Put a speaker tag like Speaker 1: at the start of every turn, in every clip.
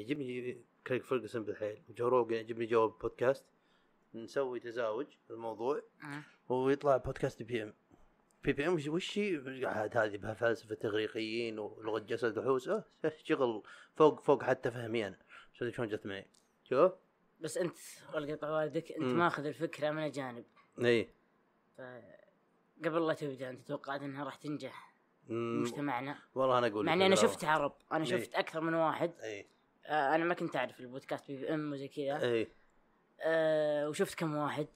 Speaker 1: يعجبني كريك فيرجسون بالحيل وجو روجن يعجبني جو البودكاست نسوي تزاوج الموضوع
Speaker 2: آه.
Speaker 1: ويطلع بودكاست بي ام بي بي ام وش- وش هي؟ عاد هذه بها فلسفه تغريقيين ولغه جسد وحوس اه شغل فوق فوق حتى فهمي انا شو- شلون جت معي شوف
Speaker 2: بس انت ولا قطع والدك انت
Speaker 1: مم.
Speaker 2: ماخذ الفكره من اجانب
Speaker 1: اي
Speaker 2: قبل لا تبدا انت توقعت انها راح تنجح
Speaker 1: مم،
Speaker 2: مجتمعنا
Speaker 1: والله انا اقول
Speaker 2: مع
Speaker 1: لك إيه.
Speaker 2: اني انا
Speaker 1: بالعربي.
Speaker 2: شفت عرب انا
Speaker 1: إيه.
Speaker 2: شفت اكثر من واحد
Speaker 1: اي
Speaker 2: آه، انا ما كنت اعرف البودكاست بي بي ام وزي كذا
Speaker 1: اي
Speaker 2: آه، وشفت كم واحد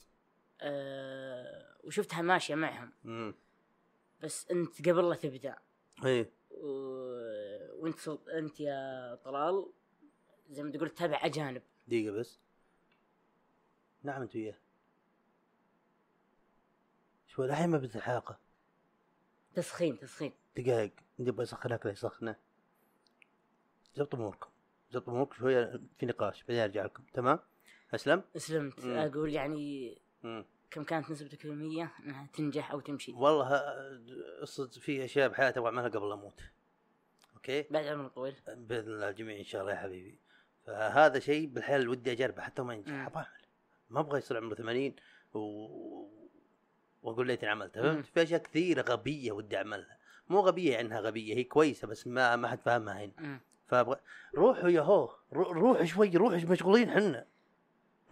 Speaker 2: آه، وشفتها ماشيه معهم
Speaker 1: مم. إيه.
Speaker 2: بس انت قبل لا تبدا
Speaker 1: اي
Speaker 2: و... وانت صل- انت يا طلال زي ما تقول تتابع اجانب
Speaker 1: دقيقه بس نعم انت وياه شو الحين ما بالحلقه
Speaker 2: تسخين تسخين
Speaker 1: دقائق نبغى يسخنك لا يسخنه زبط اموركم زبط اموركم شويه في نقاش بعدين ارجع لكم تمام اسلم
Speaker 2: اسلمت
Speaker 1: مم.
Speaker 2: اقول يعني
Speaker 1: مم.
Speaker 2: كم كانت نسبتك المية انها تنجح او تمشي
Speaker 1: والله آه، الصدق في اشياء بحياتي ابغى اعملها قبل اموت اوكي
Speaker 2: بعد عمر طويل
Speaker 1: باذن الله الجميع ان شاء الله يا حبيبي فهذا شيء بالحيل ودي اجربه حتى ما ينجح
Speaker 2: مم.
Speaker 1: ابغى اعمل ما ابغى يصير عمره 80 و... واقول ليتني عملتها
Speaker 2: مم.
Speaker 1: فهمت في اشياء كثيره غبيه ودي اعملها مو غبيه انها غبيه هي كويسه بس ما ما حد فاهمها هنا
Speaker 2: مم.
Speaker 1: فابغى روحوا يا هو رو- روحوا شوي روحوا مشغولين حنا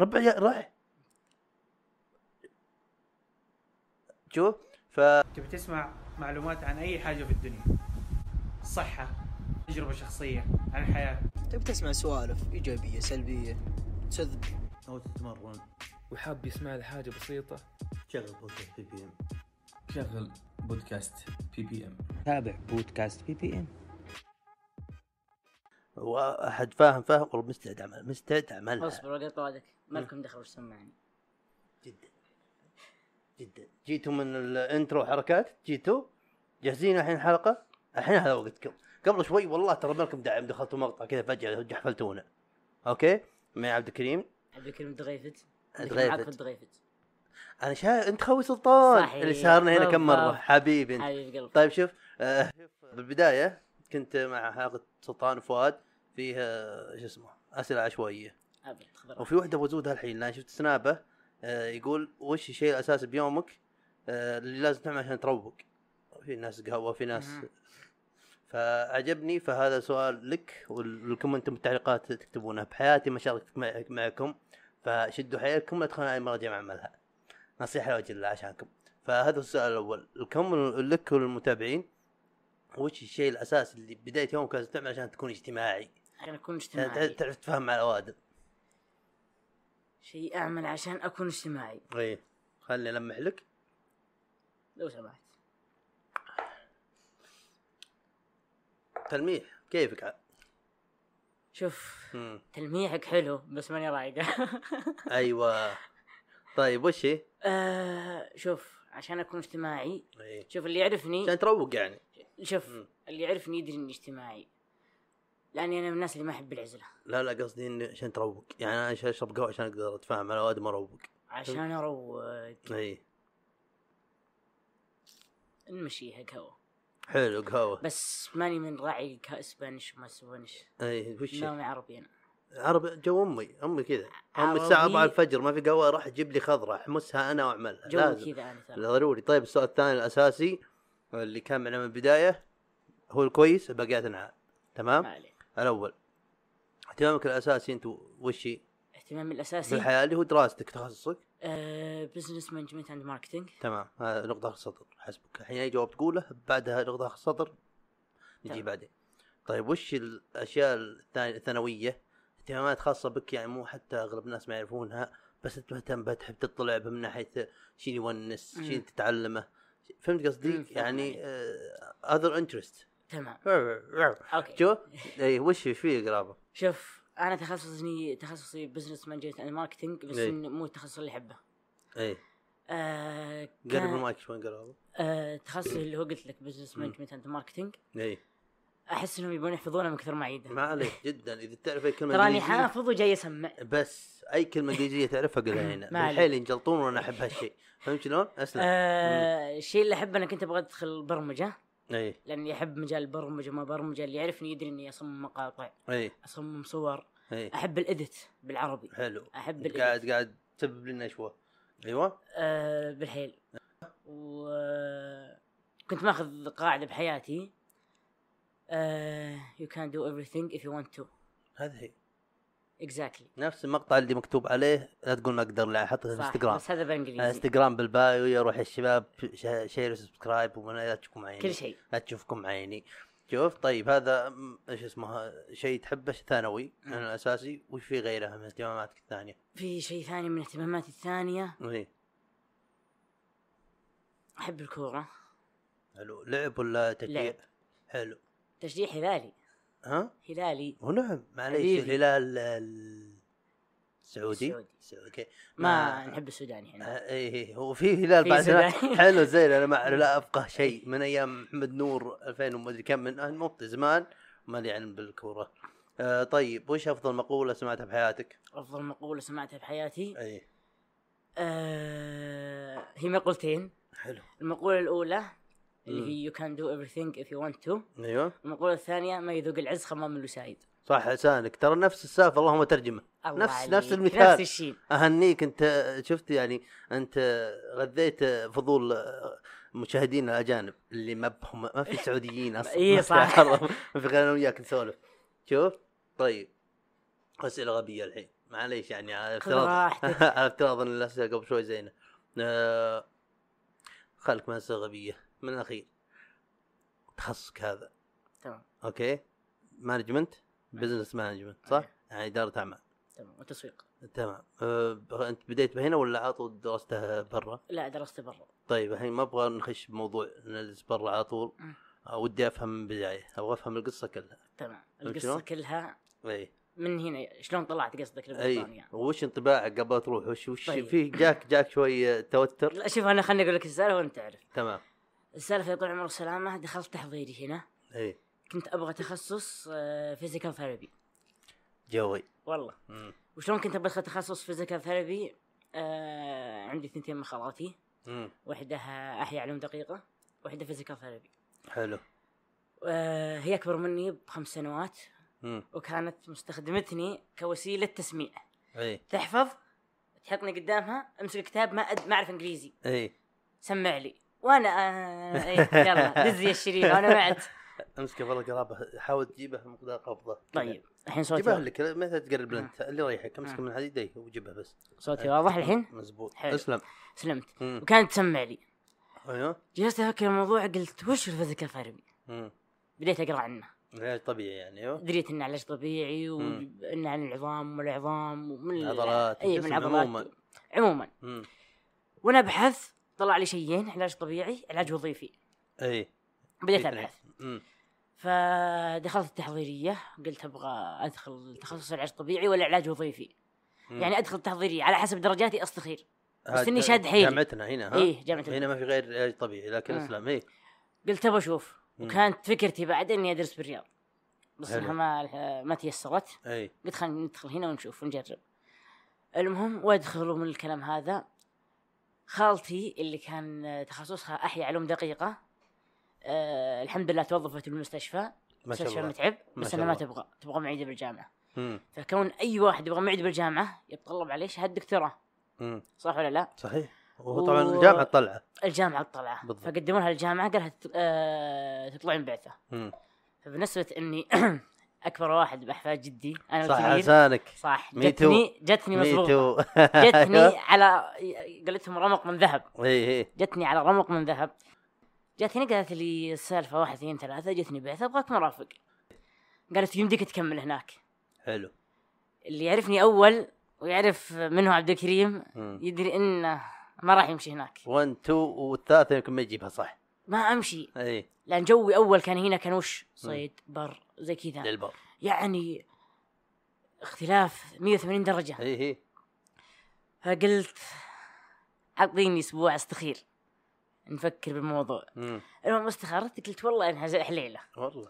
Speaker 1: ربع يا راح شوف ف
Speaker 3: تبي تسمع معلومات عن اي حاجه في الدنيا الصحه تجربه شخصيه عن الحياه
Speaker 4: تبي تسمع سوالف ايجابيه سلبيه تسذب
Speaker 1: او تتمرن
Speaker 5: وحاب يسمع لحاجة بسيطة
Speaker 1: شغل بودكاست بي بي ام
Speaker 5: شغل بودكاست بي بي ام
Speaker 6: تابع بودكاست بي بي ام
Speaker 1: واحد فاهم فاهم والله مستعد عمل مستعد عمل
Speaker 2: اصبر وقت طوالك ما لكم دخل وش سمعني
Speaker 1: جدا جدا جيتوا من الانترو حركات جيتوا جاهزين الحين حلقه الحين هذا وقتكم قبل شوي والله ترى مالكم داعي دخلتوا مقطع كذا فجاه جحفلتونا اوكي معي عبد الكريم
Speaker 2: عبد الكريم دغيفت معك في
Speaker 1: تغيفت
Speaker 2: الدغيفت
Speaker 1: انا شايف انت خوي سلطان
Speaker 2: صحيح.
Speaker 1: اللي صارنا هنا كم مره
Speaker 2: بالضبط.
Speaker 1: حبيبي انت
Speaker 2: حبيب قلبي
Speaker 1: طيب شوف آه بالبدايه كنت مع حلقه سلطان وفؤاد فيه آه، شو اسمه اسئله عشوائيه
Speaker 2: ابد خبر
Speaker 1: وفي واحده بوزودها الحين لان يعني شفت سنابه آه يقول وش الشيء الاساسي بيومك آه اللي لازم تعمله عشان تروق في ناس قهوه في ناس
Speaker 2: مهم.
Speaker 1: فعجبني فهذا سؤال لك وال- ولكم انتم التعليقات تكتبونها بحياتي ما شاركت مع- معكم فشدوا حيلكم لا تخلون اي مراجع اعملها نصيحه لوجه الله عشانكم فهذا السؤال الاول لكم ول- لك وللمتابعين وش الشيء الاساسي اللي بدايه يومك لازم تعمله عشان تكون اجتماعي
Speaker 2: عشان اكون
Speaker 1: عشان
Speaker 2: اجتماعي
Speaker 1: تعرف تفهم مع الاوادم
Speaker 2: شيء اعمل عشان اكون اجتماعي
Speaker 1: ايه خلني المح لك
Speaker 2: لو سمحت
Speaker 1: تلميح كيفك عاد
Speaker 2: شوف
Speaker 1: مم.
Speaker 2: تلميحك حلو بس ماني رايقه
Speaker 1: ايوه طيب وش هي؟
Speaker 2: آه، شوف عشان اكون اجتماعي
Speaker 1: إيه.
Speaker 2: شوف اللي يعرفني
Speaker 1: عشان تروق يعني
Speaker 2: شوف
Speaker 1: مم.
Speaker 2: اللي يعرفني يدري اني اجتماعي لاني انا من الناس اللي ما احب العزله
Speaker 1: لا لا قصدي إن عشان تروق يعني انا عشان اشرب قهوه عشان اقدر اتفاهم على اوادم اروق
Speaker 2: عشان اروق
Speaker 1: اي
Speaker 2: نمشيها قهوه
Speaker 1: حلو قهوه
Speaker 2: بس ماني من راعي كاسبانش وما اسبانش
Speaker 1: اي إيه، وش هي؟
Speaker 2: نومي عربي انا
Speaker 1: عربي جو امي امي كذا امي
Speaker 2: عربي.
Speaker 1: الساعه 4 الفجر ما في قهوه راح اجيب لي خضره احمسها انا واعملها
Speaker 2: جوي
Speaker 1: لازم
Speaker 2: كذا انا ترى
Speaker 1: ضروري طيب السؤال الثاني الاساسي اللي كان معنا من البدايه هو الكويس بقيت نعم
Speaker 2: ما
Speaker 1: تمام
Speaker 2: عليه.
Speaker 1: الاول اهتمامك الاساسي انت وش هي؟
Speaker 2: اهتمامي
Speaker 1: في
Speaker 2: الاساسي
Speaker 1: الحياه اللي هو دراستك تخصصك
Speaker 2: آه، بزنس مانجمنت اند ماركتينج
Speaker 1: تمام هذا نقطة آخر السطر حسبك الحين أي جواب تقوله بعدها نقطة آخر السطر نجي
Speaker 2: تمام.
Speaker 1: بعدين طيب وش الأشياء الثانية- الثانوية اهتمامات خاصة بك يعني مو حتى أغلب الناس ما يعرفونها بس أنت مهتم بها تحب تطلع بها من ناحية شيء يونس
Speaker 2: مم.
Speaker 1: شيء تتعلمه فهمت قصدي
Speaker 2: مم، فهمت
Speaker 1: يعني اذر انترست
Speaker 2: تمام اوكي
Speaker 1: شو اي إيه، وش وش فيه قرابة
Speaker 2: شوف انا تخصصني تخصصي بزنس مانجمنت اند ماركتينج بس
Speaker 1: إيه.
Speaker 2: إنه مو التخصص اللي احبه
Speaker 1: اي
Speaker 2: آه، كان-
Speaker 1: إيه، قرب المايك شوي قرابة
Speaker 2: آه، تخصص اللي هو قلت لك بزنس
Speaker 1: مم.
Speaker 2: مانجمنت اند ماركتينج
Speaker 1: اي
Speaker 2: احس انهم يبون يحفظونه من كثر ما اعيده
Speaker 1: ما عليك جدا اذا تعرف اي كلمه
Speaker 2: تراني
Speaker 1: إنجليزية-
Speaker 2: حافظ وجاي اسمع
Speaker 1: بس اي كلمه انجليزيه تعرفها قولها هنا
Speaker 2: ما عليك. أه.
Speaker 1: بالحيل ينجلطون وانا احب هالشيء فهمت شلون؟ اسلم
Speaker 2: آه، الشيء اللي احبه انا كنت ابغى ادخل برمجه
Speaker 1: اي
Speaker 2: لاني احب مجال البرمجه ما برمجه اللي يعرفني يدري اني اصمم مقاطع
Speaker 1: اي
Speaker 2: اصمم صور
Speaker 1: اي
Speaker 2: احب الادت بالعربي
Speaker 1: إيه. حلو
Speaker 2: احب
Speaker 1: أنت
Speaker 2: الادت
Speaker 1: قاعد قاعد تسبب لنا شوه ايوه
Speaker 2: آه بالحيل و كنت ماخذ قاعده بحياتي آه you can do everything if you want to
Speaker 1: هذه هي
Speaker 2: exactly
Speaker 1: نفس المقطع اللي مكتوب عليه لا تقول ما اقدر لا حطه في
Speaker 2: صح،
Speaker 1: الانستغرام
Speaker 2: بس هذا بالانجليزي
Speaker 1: انستغرام بالبايو يروح الشباب ش- شير سبسكرايب وما لا تشوفكم عيني
Speaker 2: كل شيء
Speaker 1: لا تشوفكم عيني شوف طيب هذا م- ايش اسمه شيء تحبه شيء ثانوي
Speaker 2: مم.
Speaker 1: يعني الاساسي وش في غيره من اهتماماتك إيه. الثانيه؟
Speaker 2: في شيء ثاني من اهتماماتي الثانيه
Speaker 1: اي
Speaker 2: احب الكوره
Speaker 1: حلو لعب ولا تشجيع؟
Speaker 2: لعب.
Speaker 1: حلو
Speaker 2: تشجيع هلالي
Speaker 1: ها؟
Speaker 2: هلالي
Speaker 1: ونعم معليش
Speaker 2: حبيبي.
Speaker 1: الهلال ال- السعودي
Speaker 2: السعودي.
Speaker 1: السعودي، اوكي
Speaker 2: ما
Speaker 1: ما-
Speaker 2: نحب السوداني احنا
Speaker 1: آه، ايه إيه، هو في هلال
Speaker 2: في
Speaker 1: بعد هلال.
Speaker 2: زمان.
Speaker 1: حلو زين انا ما لا افقه شيء من ايام محمد نور 2000 وما ادري كم من آه، مو زمان مالي علم بالكوره آه طيب وش افضل مقوله سمعتها بحياتك؟
Speaker 2: افضل مقوله سمعتها بحياتي
Speaker 1: اي
Speaker 2: آه هي مقولتين
Speaker 1: حلو
Speaker 2: المقوله الاولى
Speaker 1: مم.
Speaker 2: اللي هي you can do everything if you want to
Speaker 1: ايوه
Speaker 2: المقوله الثانيه ما يذوق العز خمام الوسايد
Speaker 1: صح لسانك ترى نفس السالفه اللهم ترجمه
Speaker 2: الله
Speaker 1: نفس-
Speaker 2: عليك.
Speaker 1: نفس المثال.
Speaker 2: نفس الشيء
Speaker 1: اهنيك انت شفت يعني انت غذيت فضول مشاهدين الاجانب اللي ما بهم ما في سعوديين اصلا
Speaker 2: إيه
Speaker 1: ما في
Speaker 2: صح.
Speaker 1: عرب، ما في غير انا وياك نسولف شوف طيب اسئله غبيه الحين معليش يعني على
Speaker 2: خذ
Speaker 1: افتراض
Speaker 2: راحتك
Speaker 1: على افتراض ان الاسئله قبل شوي زينه آه خلك من الاسئله غبيه من الاخير تخصصك هذا
Speaker 2: تمام
Speaker 1: اوكي مانجمنت بزنس مانجمنت صح؟
Speaker 2: نعم. أيوه.
Speaker 1: يعني اداره اعمال
Speaker 2: تمام وتسويق
Speaker 1: تمام أه بغ- انت بديت بهنا ولا عطوا دراستها برا؟
Speaker 2: لا درست برا
Speaker 1: طيب الحين ما ابغى نخش بموضوع نجلس برا على طول
Speaker 2: مم.
Speaker 1: أه، ودي افهم من البدايه ابغى افهم القصه كلها
Speaker 2: تمام
Speaker 1: فهمت
Speaker 2: القصه
Speaker 1: شلون؟
Speaker 2: كلها
Speaker 1: اي
Speaker 2: من هنا شلون طلعت قصدك
Speaker 1: اي
Speaker 2: لبريطانيا
Speaker 1: إيه. وش انطباعك قبل تروح وش وش
Speaker 2: يعني. طيب.
Speaker 1: في جاك جاك شوي أه، توتر
Speaker 2: لا شوف انا خليني اقول لك السالفه وانت تعرف
Speaker 1: تمام
Speaker 2: السالفه يا طول عمر السلامه دخلت تحضيري هنا
Speaker 1: اي
Speaker 2: كنت ابغى تخصص فيزيكال ثيرابي
Speaker 1: جوي
Speaker 2: والله
Speaker 1: مم.
Speaker 2: وشلون كنت ابغى ادخل تخصص فيزيكال ثيرابي آه عندي ثنتين من خالاتي
Speaker 1: مم.
Speaker 2: واحده احياء علوم دقيقه واحده فيزيكال ثيرابي
Speaker 1: حلو
Speaker 2: آه هي اكبر مني بخمس سنوات
Speaker 1: مم.
Speaker 2: وكانت مستخدمتني كوسيله تسميع
Speaker 1: اي
Speaker 2: تحفظ تحطني قدامها امسك الكتاب ما أد... ما اعرف انجليزي
Speaker 1: اي
Speaker 2: سمع لي وانا آه... إيه، يلا دز يا الشريف انا معت
Speaker 1: امسك والله قرابه حاول تجيبه مقدار قبضه
Speaker 2: طيب الحين صوتي
Speaker 1: جيبه
Speaker 2: واضح.
Speaker 1: لك متى تقرب انت اللي رايحك امسك
Speaker 2: مم.
Speaker 1: من حديديه وجيبه بس
Speaker 2: صوتي واضح الحين
Speaker 1: مزبوط
Speaker 2: حلو.
Speaker 1: اسلم
Speaker 2: سلمت
Speaker 1: مم.
Speaker 2: وكانت تسمع لي
Speaker 1: ايوه
Speaker 2: جلست افكر الموضوع قلت وش الفيزيكال ثيرابي
Speaker 1: مم.
Speaker 2: بديت اقرا عنه
Speaker 1: علاج طبيعي يعني ايوه
Speaker 2: دريت انه علاج طبيعي
Speaker 1: مم.
Speaker 2: وانه عن العظام والعظام ومن ال-
Speaker 1: العضلات،
Speaker 2: اي من
Speaker 1: الجسم
Speaker 2: العضلات
Speaker 1: يعني عموماً.
Speaker 2: عموما عموما
Speaker 1: مم.
Speaker 2: وانا ابحث طلع لي شيئين علاج طبيعي علاج وظيفي
Speaker 1: اي
Speaker 2: بديت ابحث
Speaker 1: إيه، مم.
Speaker 2: فدخلت التحضيريه قلت ابغى ادخل تخصص علاج طبيعي ولا علاج وظيفي
Speaker 1: مم.
Speaker 2: يعني ادخل تحضيريه على حسب درجاتي اصطخير بس
Speaker 1: هاد-
Speaker 2: إني شاد حيلي.
Speaker 1: جامعتنا هنا ها
Speaker 2: ايه جامعه
Speaker 1: هنا ما في غير علاج طبيعي لكن
Speaker 2: آه.
Speaker 1: الاسلام ايه
Speaker 2: قلت ابغى اشوف
Speaker 1: مم.
Speaker 2: وكانت فكرتي بعد اني ادرس بالرياض بس
Speaker 1: حلو.
Speaker 2: انها ما ما تيسرت
Speaker 1: اي
Speaker 2: قلت خلينا ندخل هنا ونشوف ونجرب المهم وادخل من الكلام هذا خالتي اللي كان تخصصها احياء علوم دقيقه أه الحمد لله توظفت بالمستشفى
Speaker 1: ما شاء
Speaker 2: مستشفى
Speaker 1: الله
Speaker 2: المتعب
Speaker 1: ما
Speaker 2: بس
Speaker 1: شاء
Speaker 2: انها ما
Speaker 1: الله.
Speaker 2: تبغى تبغى معيده بالجامعه
Speaker 1: مم.
Speaker 2: فكون اي واحد يبغى معيد بالجامعه يتطلب عليه شهاده دكتوراه
Speaker 1: مم.
Speaker 2: صح ولا لا؟
Speaker 1: صحيح
Speaker 2: و-
Speaker 1: وهو طبعا الجامعه طلعه
Speaker 2: الجامعه تطلعها
Speaker 1: بالضبط.
Speaker 2: فقدموا لها الجامعه قالها تت- آه، تطلعين بعثه
Speaker 1: مم.
Speaker 2: فبنسبه اني اكبر واحد باحفاد جدي انا
Speaker 1: صح
Speaker 2: الكبير
Speaker 1: لسانك
Speaker 2: صح
Speaker 1: Me too.
Speaker 2: جتني جتني مضبوطه
Speaker 1: ميتو
Speaker 2: جتني على قلتهم رمق من ذهب
Speaker 1: اي اي
Speaker 2: جتني على رمق من ذهب جتني قالت لي السالفه واحد اثنين ثلاثه جتني بعثه ابغاك مرافق قالت يمديك تكمل هناك
Speaker 1: حلو
Speaker 2: اللي يعرفني اول ويعرف من هو عبد الكريم
Speaker 1: مم.
Speaker 2: يدري انه ما راح يمشي هناك
Speaker 1: 1 2 والثالثه يمكن ما يجيبها صح إيه،
Speaker 2: ما امشي
Speaker 1: اي
Speaker 2: لان جوي اول كان هنا كان وش صيد بر زي كذا
Speaker 1: للبر
Speaker 2: يعني اختلاف 180 درجه
Speaker 1: اي اي
Speaker 2: فقلت اعطيني اسبوع استخير نفكر بالموضوع
Speaker 1: مم.
Speaker 2: المهم استخرت قلت والله انها زي حليله
Speaker 1: والله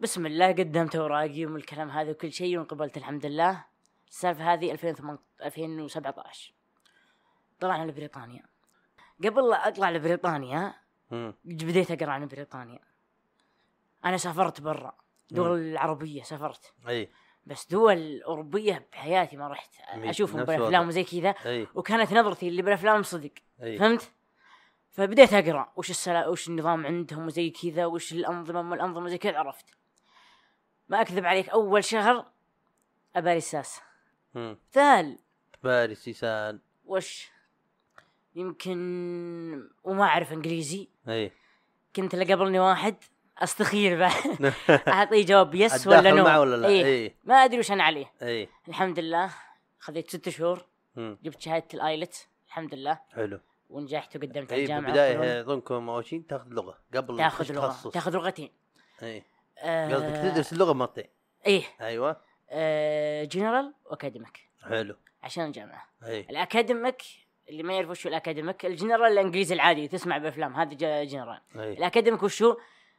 Speaker 2: بسم الله قدمت اوراقي ومن الكلام هذا وكل شيء وانقبلت الحمد لله السالفه هذه 2008 2017 طلعنا لبريطانيا قبل لا اطلع لبريطانيا
Speaker 1: مم.
Speaker 2: بديت اقرا عن بريطانيا انا سافرت برا دول العربيه سافرت
Speaker 1: اي
Speaker 2: بس دول اوروبيه بحياتي ما رحت
Speaker 1: مي-
Speaker 2: اشوفهم
Speaker 1: نفس
Speaker 2: بالافلام
Speaker 1: الوضع.
Speaker 2: وزي كذا
Speaker 1: اي
Speaker 2: وكانت نظرتي اللي بالافلام صدق
Speaker 1: اي
Speaker 2: فهمت؟ فبديت اقرا وش السلا وش النظام عندهم وزي كذا وش الانظمه ما الانظمه زي كذا عرفت. ما اكذب عليك اول شهر ابى رصاص
Speaker 1: مم.
Speaker 2: ثال
Speaker 1: باريس يسال
Speaker 2: وش يمكن وما اعرف انجليزي
Speaker 1: اي
Speaker 2: كنت اللي قبلني واحد استخير بعد اعطيه جواب يس ولا
Speaker 1: أتداخل
Speaker 2: نو
Speaker 1: معه ولا لا؟
Speaker 2: إيه.
Speaker 1: إيه.
Speaker 2: ما ادري وش انا عليه
Speaker 1: اي
Speaker 2: الحمد لله خذيت ست شهور
Speaker 1: مم.
Speaker 2: جبت شهاده الايلت الحمد لله
Speaker 1: حلو إيه،
Speaker 2: ونجحت وقدمت على
Speaker 1: اي
Speaker 2: الجامعه
Speaker 1: بالبدايه اظنكم اول شيء تاخذ لغه قبل لا
Speaker 2: تاخذ لغه تاخذ لغتين
Speaker 1: اي
Speaker 2: آه،
Speaker 1: قصدك تدرس اللغه مرتين
Speaker 2: ايه
Speaker 1: ايوه
Speaker 2: آه، جنرال واكاديميك
Speaker 1: حلو إيه،
Speaker 2: عشان الجامعه
Speaker 1: اي
Speaker 2: الاكاديميك اللي ما يعرف وش هو الاكاديميك الجنرال الانجليزي العادي تسمع بالافلام هذا جا- جنرال
Speaker 1: اي
Speaker 2: الاكاديميك وش هو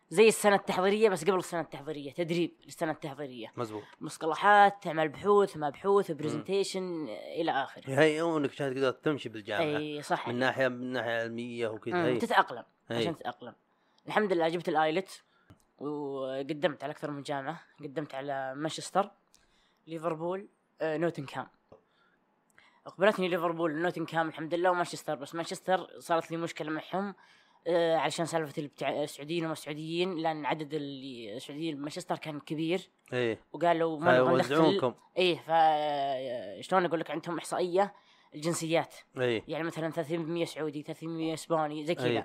Speaker 2: زي السنه التحضيريه بس قبل السنه التحضيريه تدريب للسنه التحضيريه
Speaker 1: مزبوط
Speaker 2: مصطلحات تعمل بحوث مبحوث برزنتيشن الى اخره
Speaker 1: يهيئونك عشان تقدر تمشي بالجامعه
Speaker 2: اي صح
Speaker 1: يعني من أيوة. ناحيه من ناحيه علميه وكذا
Speaker 2: إيه.
Speaker 1: إيه.
Speaker 2: مم،
Speaker 1: اي
Speaker 2: تتاقلم
Speaker 1: أي.
Speaker 2: عشان تتاقلم الحمد لله جبت الايلت وقدمت على اكثر من جامعه قدمت على مانشستر ليفربول آه، نوتنغهام اقبلتني ليفربول نوتنغهام الحمد لله ومانشستر بس مانشستر صارت لي مشكله معهم آه، علشان سالفه البتاع- السعوديين وما السعوديين لان عدد اللي- السعوديين بمانشستر كان كبير
Speaker 1: اي
Speaker 2: وقالوا ما نبغى
Speaker 1: إيه.
Speaker 2: ندخل
Speaker 1: فيوزعونكم
Speaker 2: ايه ف آه، شلون اقول لك عندهم احصائيه الجنسيات
Speaker 1: اي
Speaker 2: يعني مثلا 30% سعودي 30% اسباني زي
Speaker 1: أي.
Speaker 2: كذا
Speaker 1: السعودي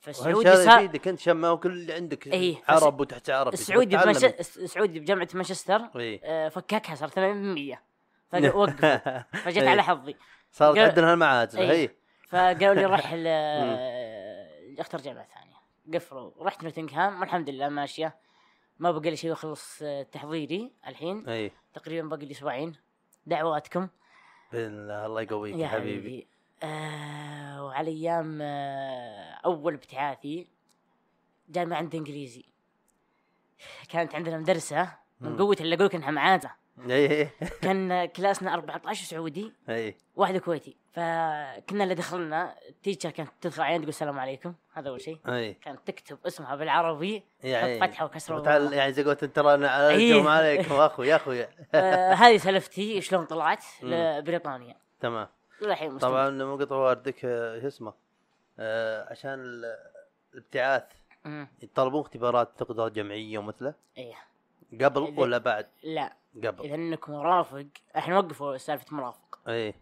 Speaker 2: فالسعودي
Speaker 1: هذا
Speaker 2: صار
Speaker 1: يفيدك انت شمال وكل اللي عندك
Speaker 2: إيه، فس-
Speaker 1: عرب وتحت عرب
Speaker 2: السعودي
Speaker 1: تبغى
Speaker 2: بمانش...
Speaker 1: تتعلم.
Speaker 2: السعودي بجامعه مانشستر
Speaker 1: اي
Speaker 2: آه، فككها صار 80% فوقفوا فجت
Speaker 1: إيه.
Speaker 2: على حظي
Speaker 1: صارت
Speaker 2: قال-
Speaker 1: عندنا هالمعازل
Speaker 2: إيه.
Speaker 1: اي
Speaker 2: فقالوا لي روح ل- آه، اختار جامعه ثانيه قفلوا رحت نوتنغهام والحمد لله ماشيه ما بقى لي شيء واخلص آه، تحضيري الحين
Speaker 1: اي
Speaker 2: تقريبا باقي لي اسبوعين دعواتكم
Speaker 1: بالله الله يقويك
Speaker 2: يا
Speaker 1: يا
Speaker 2: حبيبي آه وعلى ايام آه اول ابتعاثي جاء ما عندي انجليزي كانت عندنا مدرسه من
Speaker 1: مم.
Speaker 2: قوه اللي اقول لك انها معاذه
Speaker 1: اي
Speaker 2: كان كلاسنا 14 سعودي
Speaker 1: اي
Speaker 2: واحد كويتي فكنا اللي دخلنا التيتشر كانت تدخل علينا تقول السلام عليكم هذا اول شيء
Speaker 1: اي
Speaker 2: كانت تكتب اسمها بالعربي
Speaker 1: يعني
Speaker 2: تحط فتحه وكسره
Speaker 1: وتعال- يعني زي قلت انت رانا على
Speaker 2: إيه.
Speaker 1: الجو عليكم اخوي يا اخوي
Speaker 2: آه هذه سلفتي شلون طلعت
Speaker 1: مم.
Speaker 2: لبريطانيا
Speaker 1: تمام
Speaker 2: للحين مستمر.
Speaker 1: طبعا مو قطع واردك آه، شو اسمه آه، عشان ال- الابتعاث
Speaker 2: مم.
Speaker 1: يطلبون اختبارات تقدر جمعيه ومثله
Speaker 2: ايه
Speaker 1: قبل
Speaker 2: إذا-
Speaker 1: ولا بعد
Speaker 2: لا
Speaker 1: قبل
Speaker 2: اذا انك مرافق احنا وقفوا سالفه مرافق
Speaker 1: اي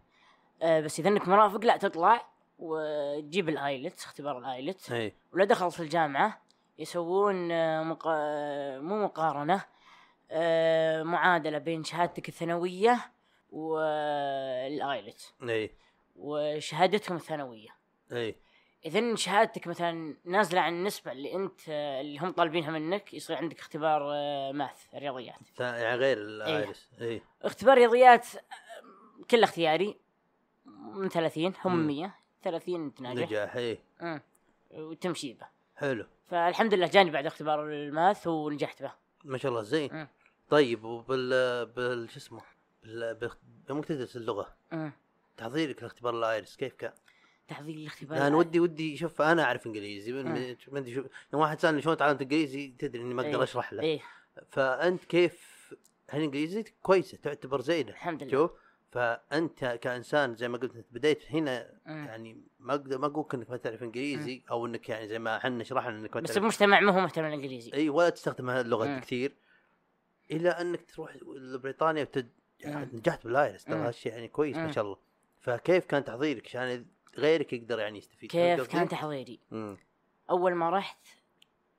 Speaker 2: آه، بس اذا انك مرافق لا تطلع وتجيب الايلتس اختبار الايلتس
Speaker 1: اي
Speaker 2: ولا دخل في الجامعه يسوون آه، مقا... آه، مو مقارنه آه، معادله بين شهادتك الثانويه والايلتس
Speaker 1: اي
Speaker 2: وشهادتهم الثانويه
Speaker 1: اي
Speaker 2: اذا شهادتك مثلا نازله عن النسبه اللي انت آه، اللي هم طالبينها منك يصير عندك اختبار آه، ماث رياضيات
Speaker 1: ف- يعني غير
Speaker 2: إيه.
Speaker 1: إيه. الايرس اي
Speaker 2: اختبار رياضيات آه، كله اختياري من 30 هم
Speaker 1: مم.
Speaker 2: 100 30 تناجح
Speaker 1: نجاح اي
Speaker 2: امم وتمشي به
Speaker 1: حلو
Speaker 2: فالحمد لله جاني بعد اختبار الماث ونجحت به
Speaker 1: ما شاء الله زين
Speaker 2: مم.
Speaker 1: طيب وبال بال شو اسمه بال بال- يوم تدرس اللغه
Speaker 2: أمم.
Speaker 1: تحضيرك لاختبار الايرس كيف كان؟
Speaker 2: تحضير الاختبار
Speaker 1: انا يعني ودي ودي شوف انا اعرف انجليزي
Speaker 2: طيب. مم.
Speaker 1: ما ادري شو يوم واحد سالني شلون تعلمت انجليزي تدري اني ما
Speaker 2: إيه.
Speaker 1: اقدر اشرح له
Speaker 2: ايه
Speaker 1: فانت كيف هل انجليزيتك كويسه تعتبر زينه
Speaker 2: الحمد لله.
Speaker 1: شوف فانت كانسان زي ما قلت انت بديت هنا
Speaker 2: أمم.
Speaker 1: يعني ما اقدر ما اقول لك انك ما تعرف انجليزي او انك يعني زي ما احنا شرحنا انك ما
Speaker 2: بس
Speaker 1: تعرف
Speaker 2: المجتمع ما هو مهتم بالانجليزي
Speaker 1: اي ولا تستخدم
Speaker 2: مم.
Speaker 1: اللغه كثير الى انك تروح لبريطانيا وتد... يعني نجحت بالايرس ترى
Speaker 2: مم.
Speaker 1: هالشيء يعني كويس
Speaker 2: مم.
Speaker 1: ما شاء الله فكيف كان تحضيرك عشان غيرك يقدر يعني يستفيد فهمت
Speaker 2: كيف
Speaker 1: قصدي؟
Speaker 2: كان تحضيري
Speaker 1: مم.
Speaker 2: اول ما رحت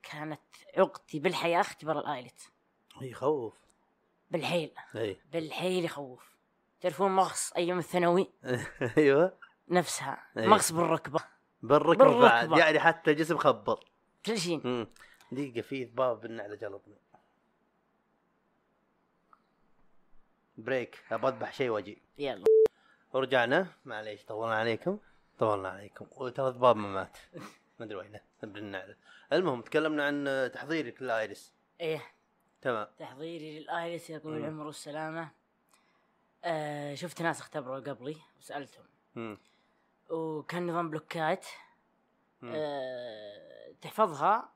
Speaker 2: كانت عقدتي بالحياه اختبار الايلت
Speaker 1: يخوف
Speaker 2: بالحيل
Speaker 1: اي
Speaker 2: بالحيل يخوف تعرفون مغص ايام الثانوي
Speaker 1: ايوه
Speaker 2: نفسها
Speaker 1: إيه.
Speaker 2: مغص بالركبه
Speaker 1: بالركبه بعد
Speaker 2: بالركبة.
Speaker 1: يعني حتى الجسم خبر
Speaker 2: كل شيء
Speaker 1: مم. دقيقة في ذباب بالنعلة جلطني بريك ابى اذبح شيء واجي
Speaker 2: يلا
Speaker 1: ورجعنا معليش طولنا عليكم طولنا عليكم وترى ذباب ما مات ما ادري وينه بالنعلة المهم تكلمنا عن آه، تحضيرك للايرس
Speaker 2: ايه
Speaker 1: تمام
Speaker 2: تحضيري للايلت يقول
Speaker 1: مم.
Speaker 2: العمر والسلامه آه شفت ناس اختبروا قبلي وسالتهم
Speaker 1: مم.
Speaker 2: وكان نظام بلوكات
Speaker 1: مم.
Speaker 2: آه، تحفظها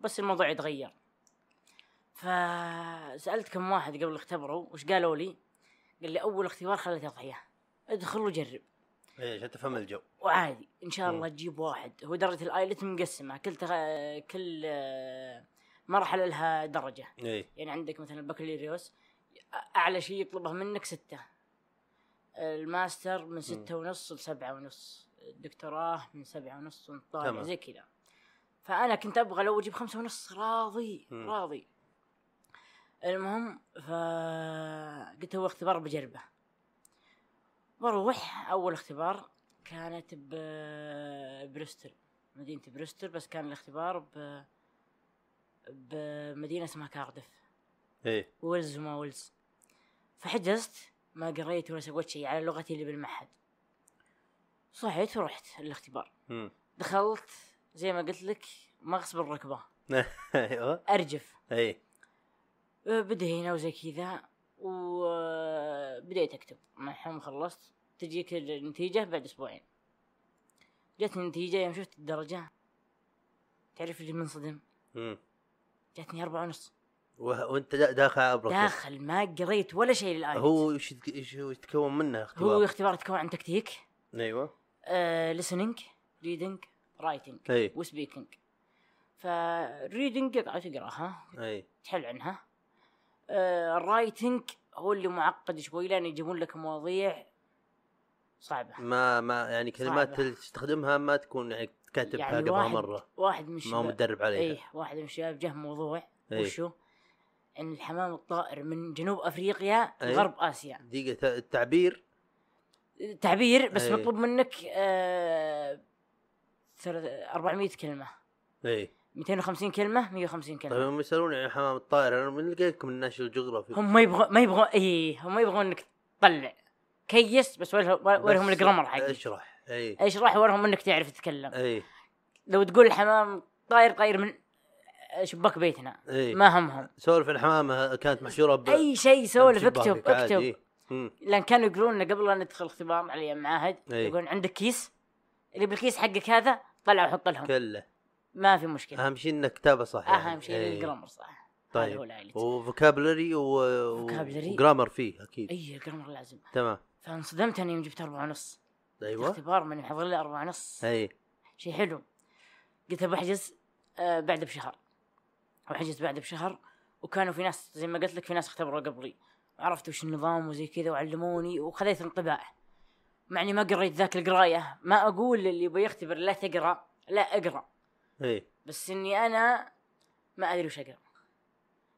Speaker 2: بس الموضوع يتغير فسألت كم واحد قبل اختبروا وش قالوا لي قال لي أول اختبار خليته أضحية ادخل وجرب
Speaker 1: ايه عشان تفهم الجو
Speaker 2: وعادي ان شاء
Speaker 1: مم.
Speaker 2: الله تجيب واحد هو درجه الايلت مقسمه كل تغ... كل آه، مرحله لها درجه
Speaker 1: ايه
Speaker 2: يعني عندك مثلا البكالوريوس أ- اعلى شيء يطلبه منك ستة الماستر من ستة ونص لسبعة ونص الدكتوراه من سبعة ونص ونطالع
Speaker 1: تمام.
Speaker 2: زي كذا فأنا كنت أبغى لو أجيب خمسة ونص راضي
Speaker 1: مم.
Speaker 2: راضي المهم فقلت هو اختبار بجربه بروح أول اختبار كانت ب- بريستل مدينة بريستل بس كان الاختبار ب بمدينة اسمها كاردف
Speaker 1: ايه
Speaker 2: ويلز وما ويلز فحجزت ما قريت ولا سويت شيء على لغتي اللي بالمعهد صحيت ورحت الاختبار
Speaker 1: مم.
Speaker 2: دخلت زي ما قلت لك مغصب الركبة
Speaker 1: ايوه
Speaker 2: أرجف
Speaker 1: ايه
Speaker 2: أه، بدهينة وزي كذا وبديت أكتب ما حم خلصت تجيك النتيجة بعد أسبوعين جتني النتيجة يوم شفت الدرجة تعرف اللي منصدم
Speaker 1: مم.
Speaker 2: جتني أربعة ونص
Speaker 1: وه- وانت دا- داخل على أبرك.
Speaker 2: داخل ما قريت ولا شيء للآية
Speaker 1: هو ايش يتك- ايش هو يتكون منه
Speaker 2: هو
Speaker 1: اختبار
Speaker 2: اختبار يتكون عن تكتيك
Speaker 1: ايوه
Speaker 2: آه، listening reading writing
Speaker 1: اي
Speaker 2: وسبيكينج فريدنج قطعة تقراها
Speaker 1: اي
Speaker 2: تحل عنها الرايتنج هو اللي معقد شوي لان يجيبون لك مواضيع صعبة
Speaker 1: ما ما يعني كلمات
Speaker 2: صعبة.
Speaker 1: اللي تستخدمها ما تكون يعني كاتبها
Speaker 2: يعني
Speaker 1: قبلها
Speaker 2: واحد
Speaker 1: مره
Speaker 2: واحد من
Speaker 1: ما هو
Speaker 2: الشباب
Speaker 1: متدرب عليها
Speaker 2: ايه واحد من الشباب جه موضوع
Speaker 1: إيه.
Speaker 2: وشو؟ ان الحمام الطائر من جنوب افريقيا
Speaker 1: إيه.
Speaker 2: غرب اسيا
Speaker 1: دقيقه ت- التعبير
Speaker 2: تعبير بس
Speaker 1: إيه.
Speaker 2: مطلوب منك آه ثلاث- 400 كلمة
Speaker 1: اي
Speaker 2: إيه. 250 كلمة 150 كلمة
Speaker 1: إيه. طيب هم يسالون عن حمام الطائر انا بنلقى لكم من ناشونال جيوغرافي
Speaker 2: هم ما يبغون ما يبغون اي هم ما يبغون انك تطلع كيس بس ورهم ورهم إيه.
Speaker 1: بس إيه.
Speaker 2: الجرامر حقك
Speaker 1: اشرح اي
Speaker 2: اشرح ورهم انك تعرف تتكلم
Speaker 1: اي
Speaker 2: لو تقول الحمام طاير طاير من شباك بيتنا
Speaker 1: اي
Speaker 2: ما همهم
Speaker 1: سولف الحمامه إيه. كانت محشوره ب
Speaker 2: اي شيء سولف
Speaker 1: بشباكك
Speaker 2: اكتب
Speaker 1: طيب. عادي.
Speaker 2: اكتب
Speaker 1: مم.
Speaker 2: لان كانوا يقولون لنا قبل لا ندخل اختبار على ايام معاهد
Speaker 1: إي.
Speaker 2: يقولون عندك كيس اللي بالكيس حقك هذا طلع وحط لهم
Speaker 1: كله
Speaker 2: ما في آه، مشكله
Speaker 1: اهم شيء انك كتابه صح
Speaker 2: اهم
Speaker 1: إي.
Speaker 2: إيه. شيء الجرامر صح هذا هو
Speaker 1: آه، إيه. طيب
Speaker 2: العائلة.
Speaker 1: وفوكابلري و...
Speaker 2: Vocabulary.
Speaker 1: وجرامر فيه اكيد
Speaker 2: اي الجرامر إيه، لازم
Speaker 1: تمام
Speaker 2: فانصدمت اني يوم جبت أربعة ونص
Speaker 1: ايوه
Speaker 2: الاختبار من حضر لي أربعة ونص
Speaker 1: اي
Speaker 2: شيء حلو قلت بحجز آه بعد بشهر وحجز بعد بشهر وكانوا في ناس زي ما قلت لك في ناس اختبروا قبلي عرفت وش النظام وزي كذا وعلموني وخذيت انطباع مع اني ما قريت ذاك القرايه ما اقول للي يبغى يختبر لا تقرا لا اقرا
Speaker 1: اي
Speaker 2: بس اني انا ما ادري وش اقرا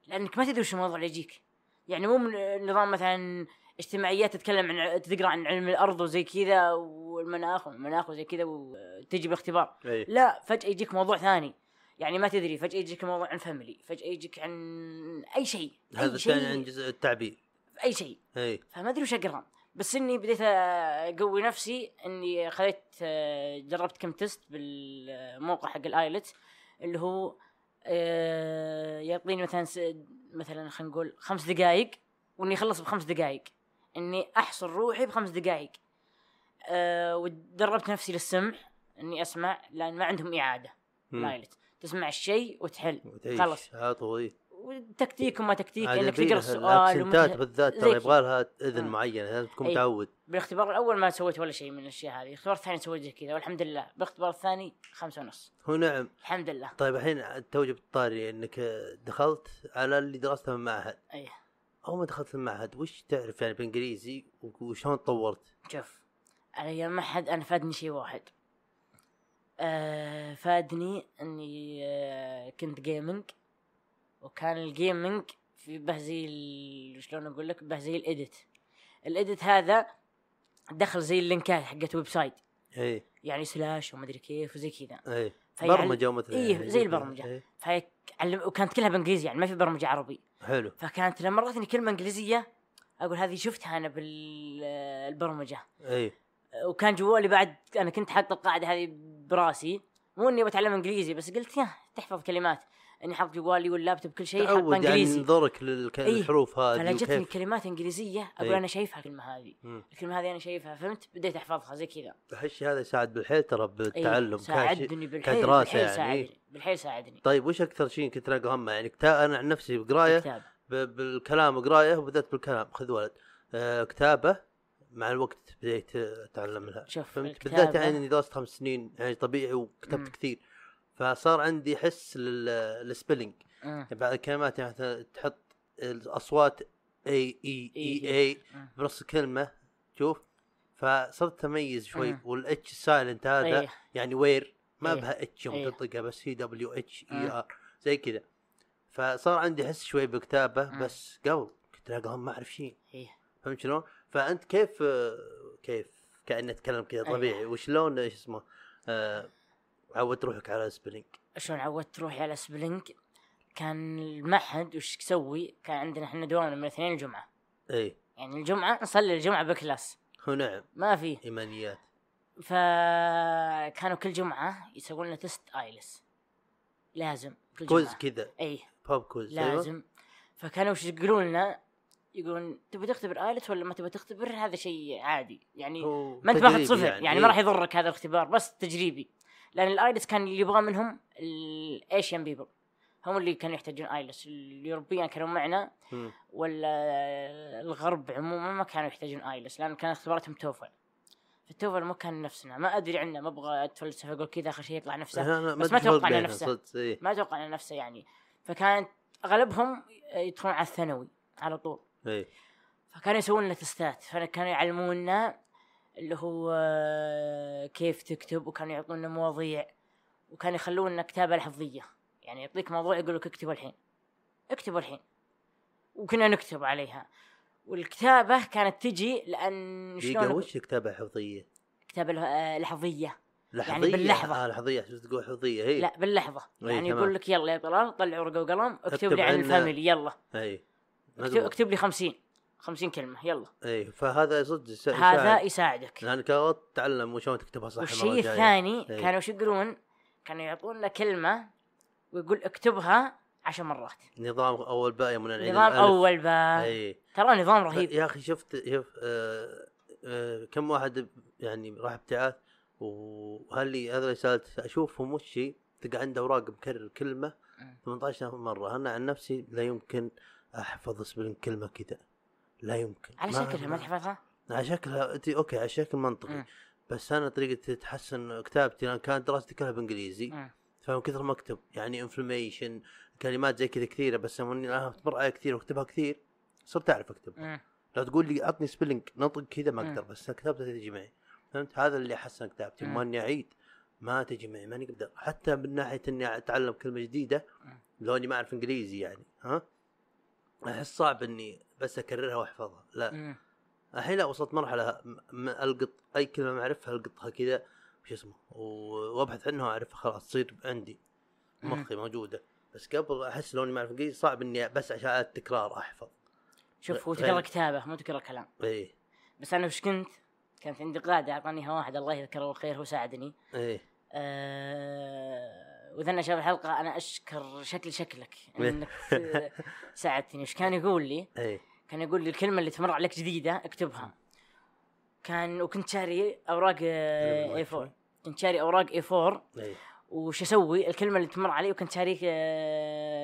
Speaker 2: لانك ما تدري وش الموضوع اللي يجيك يعني مو من نظام مثلا اجتماعيات تتكلم عن تقرا عن علم الارض وزي كذا والمناخ والمناخ وزي كذا وتجي باختبار
Speaker 1: اي
Speaker 2: لا فجأة يجيك موضوع ثاني يعني ما تدري فجأة يجيك موضوع عن فاميلي فجأة يجيك عن أي شيء
Speaker 1: هذا
Speaker 2: أي شيء
Speaker 1: الثاني عن جزء التعبير
Speaker 2: أي شيء
Speaker 1: اي
Speaker 2: فما أدري وش أقرأ بس إني بديت أقوي نفسي إني خذيت آه، جربت كم تست بالموقع حق الآيلت اللي هو آه، يعطيني مثلا س- مثلا خلينا نقول خمس دقائق وإني أخلص بخمس دقائق إني أحصر روحي بخمس دقائق آه، ودربت نفسي للسمع إني أسمع لأن ما عندهم إعادة
Speaker 1: مم.
Speaker 2: نايلت تسمع الشيء وتحل
Speaker 1: وتعيش
Speaker 2: خلاص.
Speaker 1: على طول إي.
Speaker 2: والتكتيك وما تكتيك
Speaker 1: عاد
Speaker 2: انك
Speaker 1: يبي
Speaker 2: تقرا
Speaker 1: لها
Speaker 2: السؤال
Speaker 1: الاكسنتات
Speaker 2: ومت...
Speaker 1: بالذات
Speaker 2: آه، زي
Speaker 1: ترى
Speaker 2: كذا.
Speaker 1: يبغى لها اذن
Speaker 2: آه.
Speaker 1: معينه لازم تكون
Speaker 2: أي.
Speaker 1: متعود
Speaker 2: بالاختبار الاول ما سويت ولا شيء من الاشياء هذه الاختبار الثاني سويت زي كذا والحمد لله بالاختبار الثاني خمسة ونص
Speaker 1: هو نعم
Speaker 2: الحمد لله
Speaker 1: طيب الحين تو جبت طاري انك دخلت على اللي درسته من المعهد
Speaker 2: ايه
Speaker 1: اول ما دخلت المعهد وش تعرف يعني بالانجليزي وشلون تطورت؟
Speaker 2: شوف على ايام ما حد انا فادني شيء واحد آه فادني اني آه كنت جيمنج وكان الجيمنج في به زي ال- شلون اقول لك به زي الاديت الاديت هذا دخل زي اللينكات حقت ويب سايت
Speaker 1: اي
Speaker 2: يعني سلاش وما ادري كيف وزي كذا
Speaker 1: اي
Speaker 2: فيعني-
Speaker 1: برمجه ومثل
Speaker 2: إيه،
Speaker 1: يعني
Speaker 2: زي البرمجة.
Speaker 1: إيه.
Speaker 2: فعلم وكانت كلها بانجليزي يعني ما في برمجه عربي
Speaker 1: حلو
Speaker 2: فكانت لما مرتني كلمه انجليزيه اقول هذه شفتها انا بالبرمجه
Speaker 1: اي
Speaker 2: وكان جوالي بعد انا كنت حاط القاعده هذه براسي مو اني بتعلم انجليزي بس قلت يا تحفظ كلمات اني حاط جوالي واللابتوب كل شيء حاطه
Speaker 1: تعود يعني
Speaker 2: انجليزي
Speaker 1: نظرك للحروف هذه
Speaker 2: فلجتني
Speaker 1: وكيف
Speaker 2: كلمات انجليزيه اقول
Speaker 1: إي.
Speaker 2: انا شايفها الكلمه هذه
Speaker 1: مم.
Speaker 2: الكلمه هذه انا شايفها فهمت بديت احفظها زي كذا
Speaker 1: الشيء هذا يساعد بالحيل ترى
Speaker 2: إي،
Speaker 1: بالتعلم كشيء-
Speaker 2: ساعدني بالحيل
Speaker 1: كدراسه
Speaker 2: بالحيل
Speaker 1: يعني
Speaker 2: ساعدني بالحيل ساعدني
Speaker 1: طيب وش اكثر شيء كنت تلاقي همه يعني كتا... انا عن نفسي بقرايه
Speaker 2: كتاب
Speaker 1: ب... بالكلام قرايه وبدأت بالكلام خذ ولد آه كتابه مع الوقت بديت اتعلم لها
Speaker 2: شوف،
Speaker 1: فهمت
Speaker 2: الكتابة-
Speaker 1: بالذات يعني اني درست خمس سنين يعني طبيعي وكتبت
Speaker 2: مم.
Speaker 1: كثير فصار عندي حس للسبلنج
Speaker 2: مم.
Speaker 1: بعض الكلمات يعني مثلا تحط الاصوات اي اي
Speaker 2: إي، آه.
Speaker 1: اي اي
Speaker 2: مم.
Speaker 1: E، بنص الكلمه شوف فصرت تميز شوي
Speaker 2: مم.
Speaker 1: والاتش سايلنت هذا
Speaker 2: إيه.
Speaker 1: يعني وير ما
Speaker 2: آه. إيه.
Speaker 1: بها اتش
Speaker 2: إيه.
Speaker 1: يوم تنطقها بس هي دبليو اتش اي
Speaker 2: مم.
Speaker 1: ار زي كذا فصار عندي حس شوي بكتابه
Speaker 2: مم.
Speaker 1: بس قبل كنت الاقيهم ما اعرف شيء
Speaker 2: إيه.
Speaker 1: فهمت شلون؟ فانت كيف آه، كيف كانه اتكلم كذا
Speaker 2: أيوة.
Speaker 1: طبيعي وشلون ايش اسمه آه، عودت روحك على السبلينج
Speaker 2: شلون عودت روحي على سبلينج كان المعهد وش يسوي كان عندنا احنا دوامنا من الاثنين الجمعه
Speaker 1: اي
Speaker 2: يعني الجمعه نصلي الجمعه بكلاس
Speaker 1: إيه. هو نعم
Speaker 2: ما في
Speaker 1: ايمانيات
Speaker 2: فكانوا كل جمعه يسوون لنا تست ايلس لازم كل
Speaker 1: كوز
Speaker 2: جمعه
Speaker 1: كذا
Speaker 2: اي
Speaker 1: بوب كوز أيوة.
Speaker 2: لازم فكانوا وش يقولون لنا يقولون تبي تختبر ايلتس ولا ما تبي تختبر هذا شيء عادي يعني
Speaker 1: هو
Speaker 2: ما انت باخذ
Speaker 1: تجريبي
Speaker 2: صفر يعني, يعني ما
Speaker 1: إيه.
Speaker 2: راح يضرك هذا الاختبار بس تجريبي لان الايلتس كان اللي يبغى منهم الايشن بيبل هم اللي كانوا يحتاجون ايلتس اليوروبيين كانوا معنا
Speaker 1: مم.
Speaker 2: ولا الغرب عموما ما كانوا يحتاجون ايلتس لان كان اختباراتهم توفل فالتوفل ما كان نفسنا ما ادري عنه ما ابغى اتفلسف اقول كذا اخر شيء يطلع نفسه
Speaker 1: أنا- أنا
Speaker 2: بس ما
Speaker 1: أدري فرق
Speaker 2: أتوقع إنه
Speaker 1: بينها
Speaker 2: نفسه.
Speaker 1: صدق إيه.
Speaker 2: ما اتوقع على نفسه يعني فكانت اغلبهم يدخلون على الثانوي على طول
Speaker 1: إيه.
Speaker 2: فكانوا يسوون لنا تستات فكانوا يعلمونا اللي هو آه، كيف تكتب وكانوا يعطونا مواضيع وكانوا يخلونا كتابه لحظيه يعني يعطيك موضوع يقول لك اكتبه الحين اكتبه الحين وكنا نكتب عليها والكتابه كانت تجي لان
Speaker 1: دقيقة
Speaker 2: يعني شلون
Speaker 1: وش كتابة حفظية؟
Speaker 2: كتابه له- آه، لحظيه
Speaker 1: لحظية
Speaker 2: باللحظة.
Speaker 1: آه لحظية شو تقول حفظية هي
Speaker 2: لا باللحظه
Speaker 1: إيه،
Speaker 2: يعني
Speaker 1: تمام.
Speaker 2: يقول لك يلا يا طلال طلع ورقه وقلم اكتب
Speaker 1: اكتب
Speaker 2: لي عن
Speaker 1: عنا-
Speaker 2: الفاميلي يلا
Speaker 1: اي
Speaker 2: اكتب, اكتب لي 50 50 كلمه يلا
Speaker 1: اي إيه، فهذا صدق يسا-
Speaker 2: هذا
Speaker 1: يساعد.
Speaker 2: يساعدك
Speaker 1: لانك غلط تعلم وشلون تكتبها صح
Speaker 2: والشيء
Speaker 1: الجاية.
Speaker 2: الثاني
Speaker 1: إيه.
Speaker 2: كانوا شو يقولون؟ كانوا يعطونا كلمه ويقول اكتبها عشر مرات
Speaker 1: نظام اول باء من العين
Speaker 2: نظام اول باء
Speaker 1: اي
Speaker 2: ترى نظام رهيب
Speaker 1: يا اخي شفت شوف آه آه كم واحد يعني راح ابتعاث وهاللي هذا اللي سالت اشوفهم وش شي، تلقى عنده اوراق مكرر كلمه
Speaker 2: مم.
Speaker 1: 18 مره انا عن نفسي لا يمكن احفظ سبلين كلمه كذا لا يمكن
Speaker 2: على شكلها ما تحفظها؟
Speaker 1: على شكلها انت اوكي على شكل منطقي
Speaker 2: مم.
Speaker 1: بس انا طريقه تحسن كتابتي لان كانت دراستي كلها بالانجليزي
Speaker 2: مم.
Speaker 1: فمن كثر ما اكتب يعني انفلميشن كلمات زي كذا كثيره بس لما اني انا مر علي كثير واكتبها كثير صرت اعرف اكتب
Speaker 2: مم.
Speaker 1: لو تقول لي عطني سبيلنج نطق كذا ما
Speaker 2: مم.
Speaker 1: اقدر بس كتابته تجي معي فهمت هذا اللي حسن كتابتي
Speaker 2: مم.
Speaker 1: ما اني اعيد ما تجي معي ماني اقدر حتى من ناحيه اني اتعلم كلمه جديده لو اني ما اعرف انجليزي يعني ها احس صعب اني بس اكررها واحفظها لا
Speaker 2: مم.
Speaker 1: الحين لا وصلت مرحله م- م- القط اي كلمه ما اعرفها القطها كذا وش اسمه و- وابحث عنها واعرفها خلاص تصير عندي
Speaker 2: مم.
Speaker 1: مخي موجوده بس قبل احس لو اني ما اعرف انجليزي صعب اني بس عشان التكرار احفظ
Speaker 2: شوف هو
Speaker 1: غير-
Speaker 2: تقرا كتابه مو تقرا كلام
Speaker 1: ايه
Speaker 2: بس انا وش كنت؟ كانت عندي قاعده اعطانيها واحد الله يذكره بالخير هو ساعدني
Speaker 1: ايه
Speaker 2: آه، وذنا شاف الحلقه انا اشكر شكل شكلك انك آه، ساعدتني وش كان يقول لي؟
Speaker 1: ايه
Speaker 2: كان يقول لي الكلمه اللي تمر عليك جديده اكتبها كان وكنت شاري اوراق
Speaker 1: كلمة
Speaker 2: اي
Speaker 1: وايد
Speaker 2: 4 كنت شاري اوراق اي 4
Speaker 1: ايه
Speaker 2: وش اسوي الكلمه اللي تمر علي وكنت آه، شاري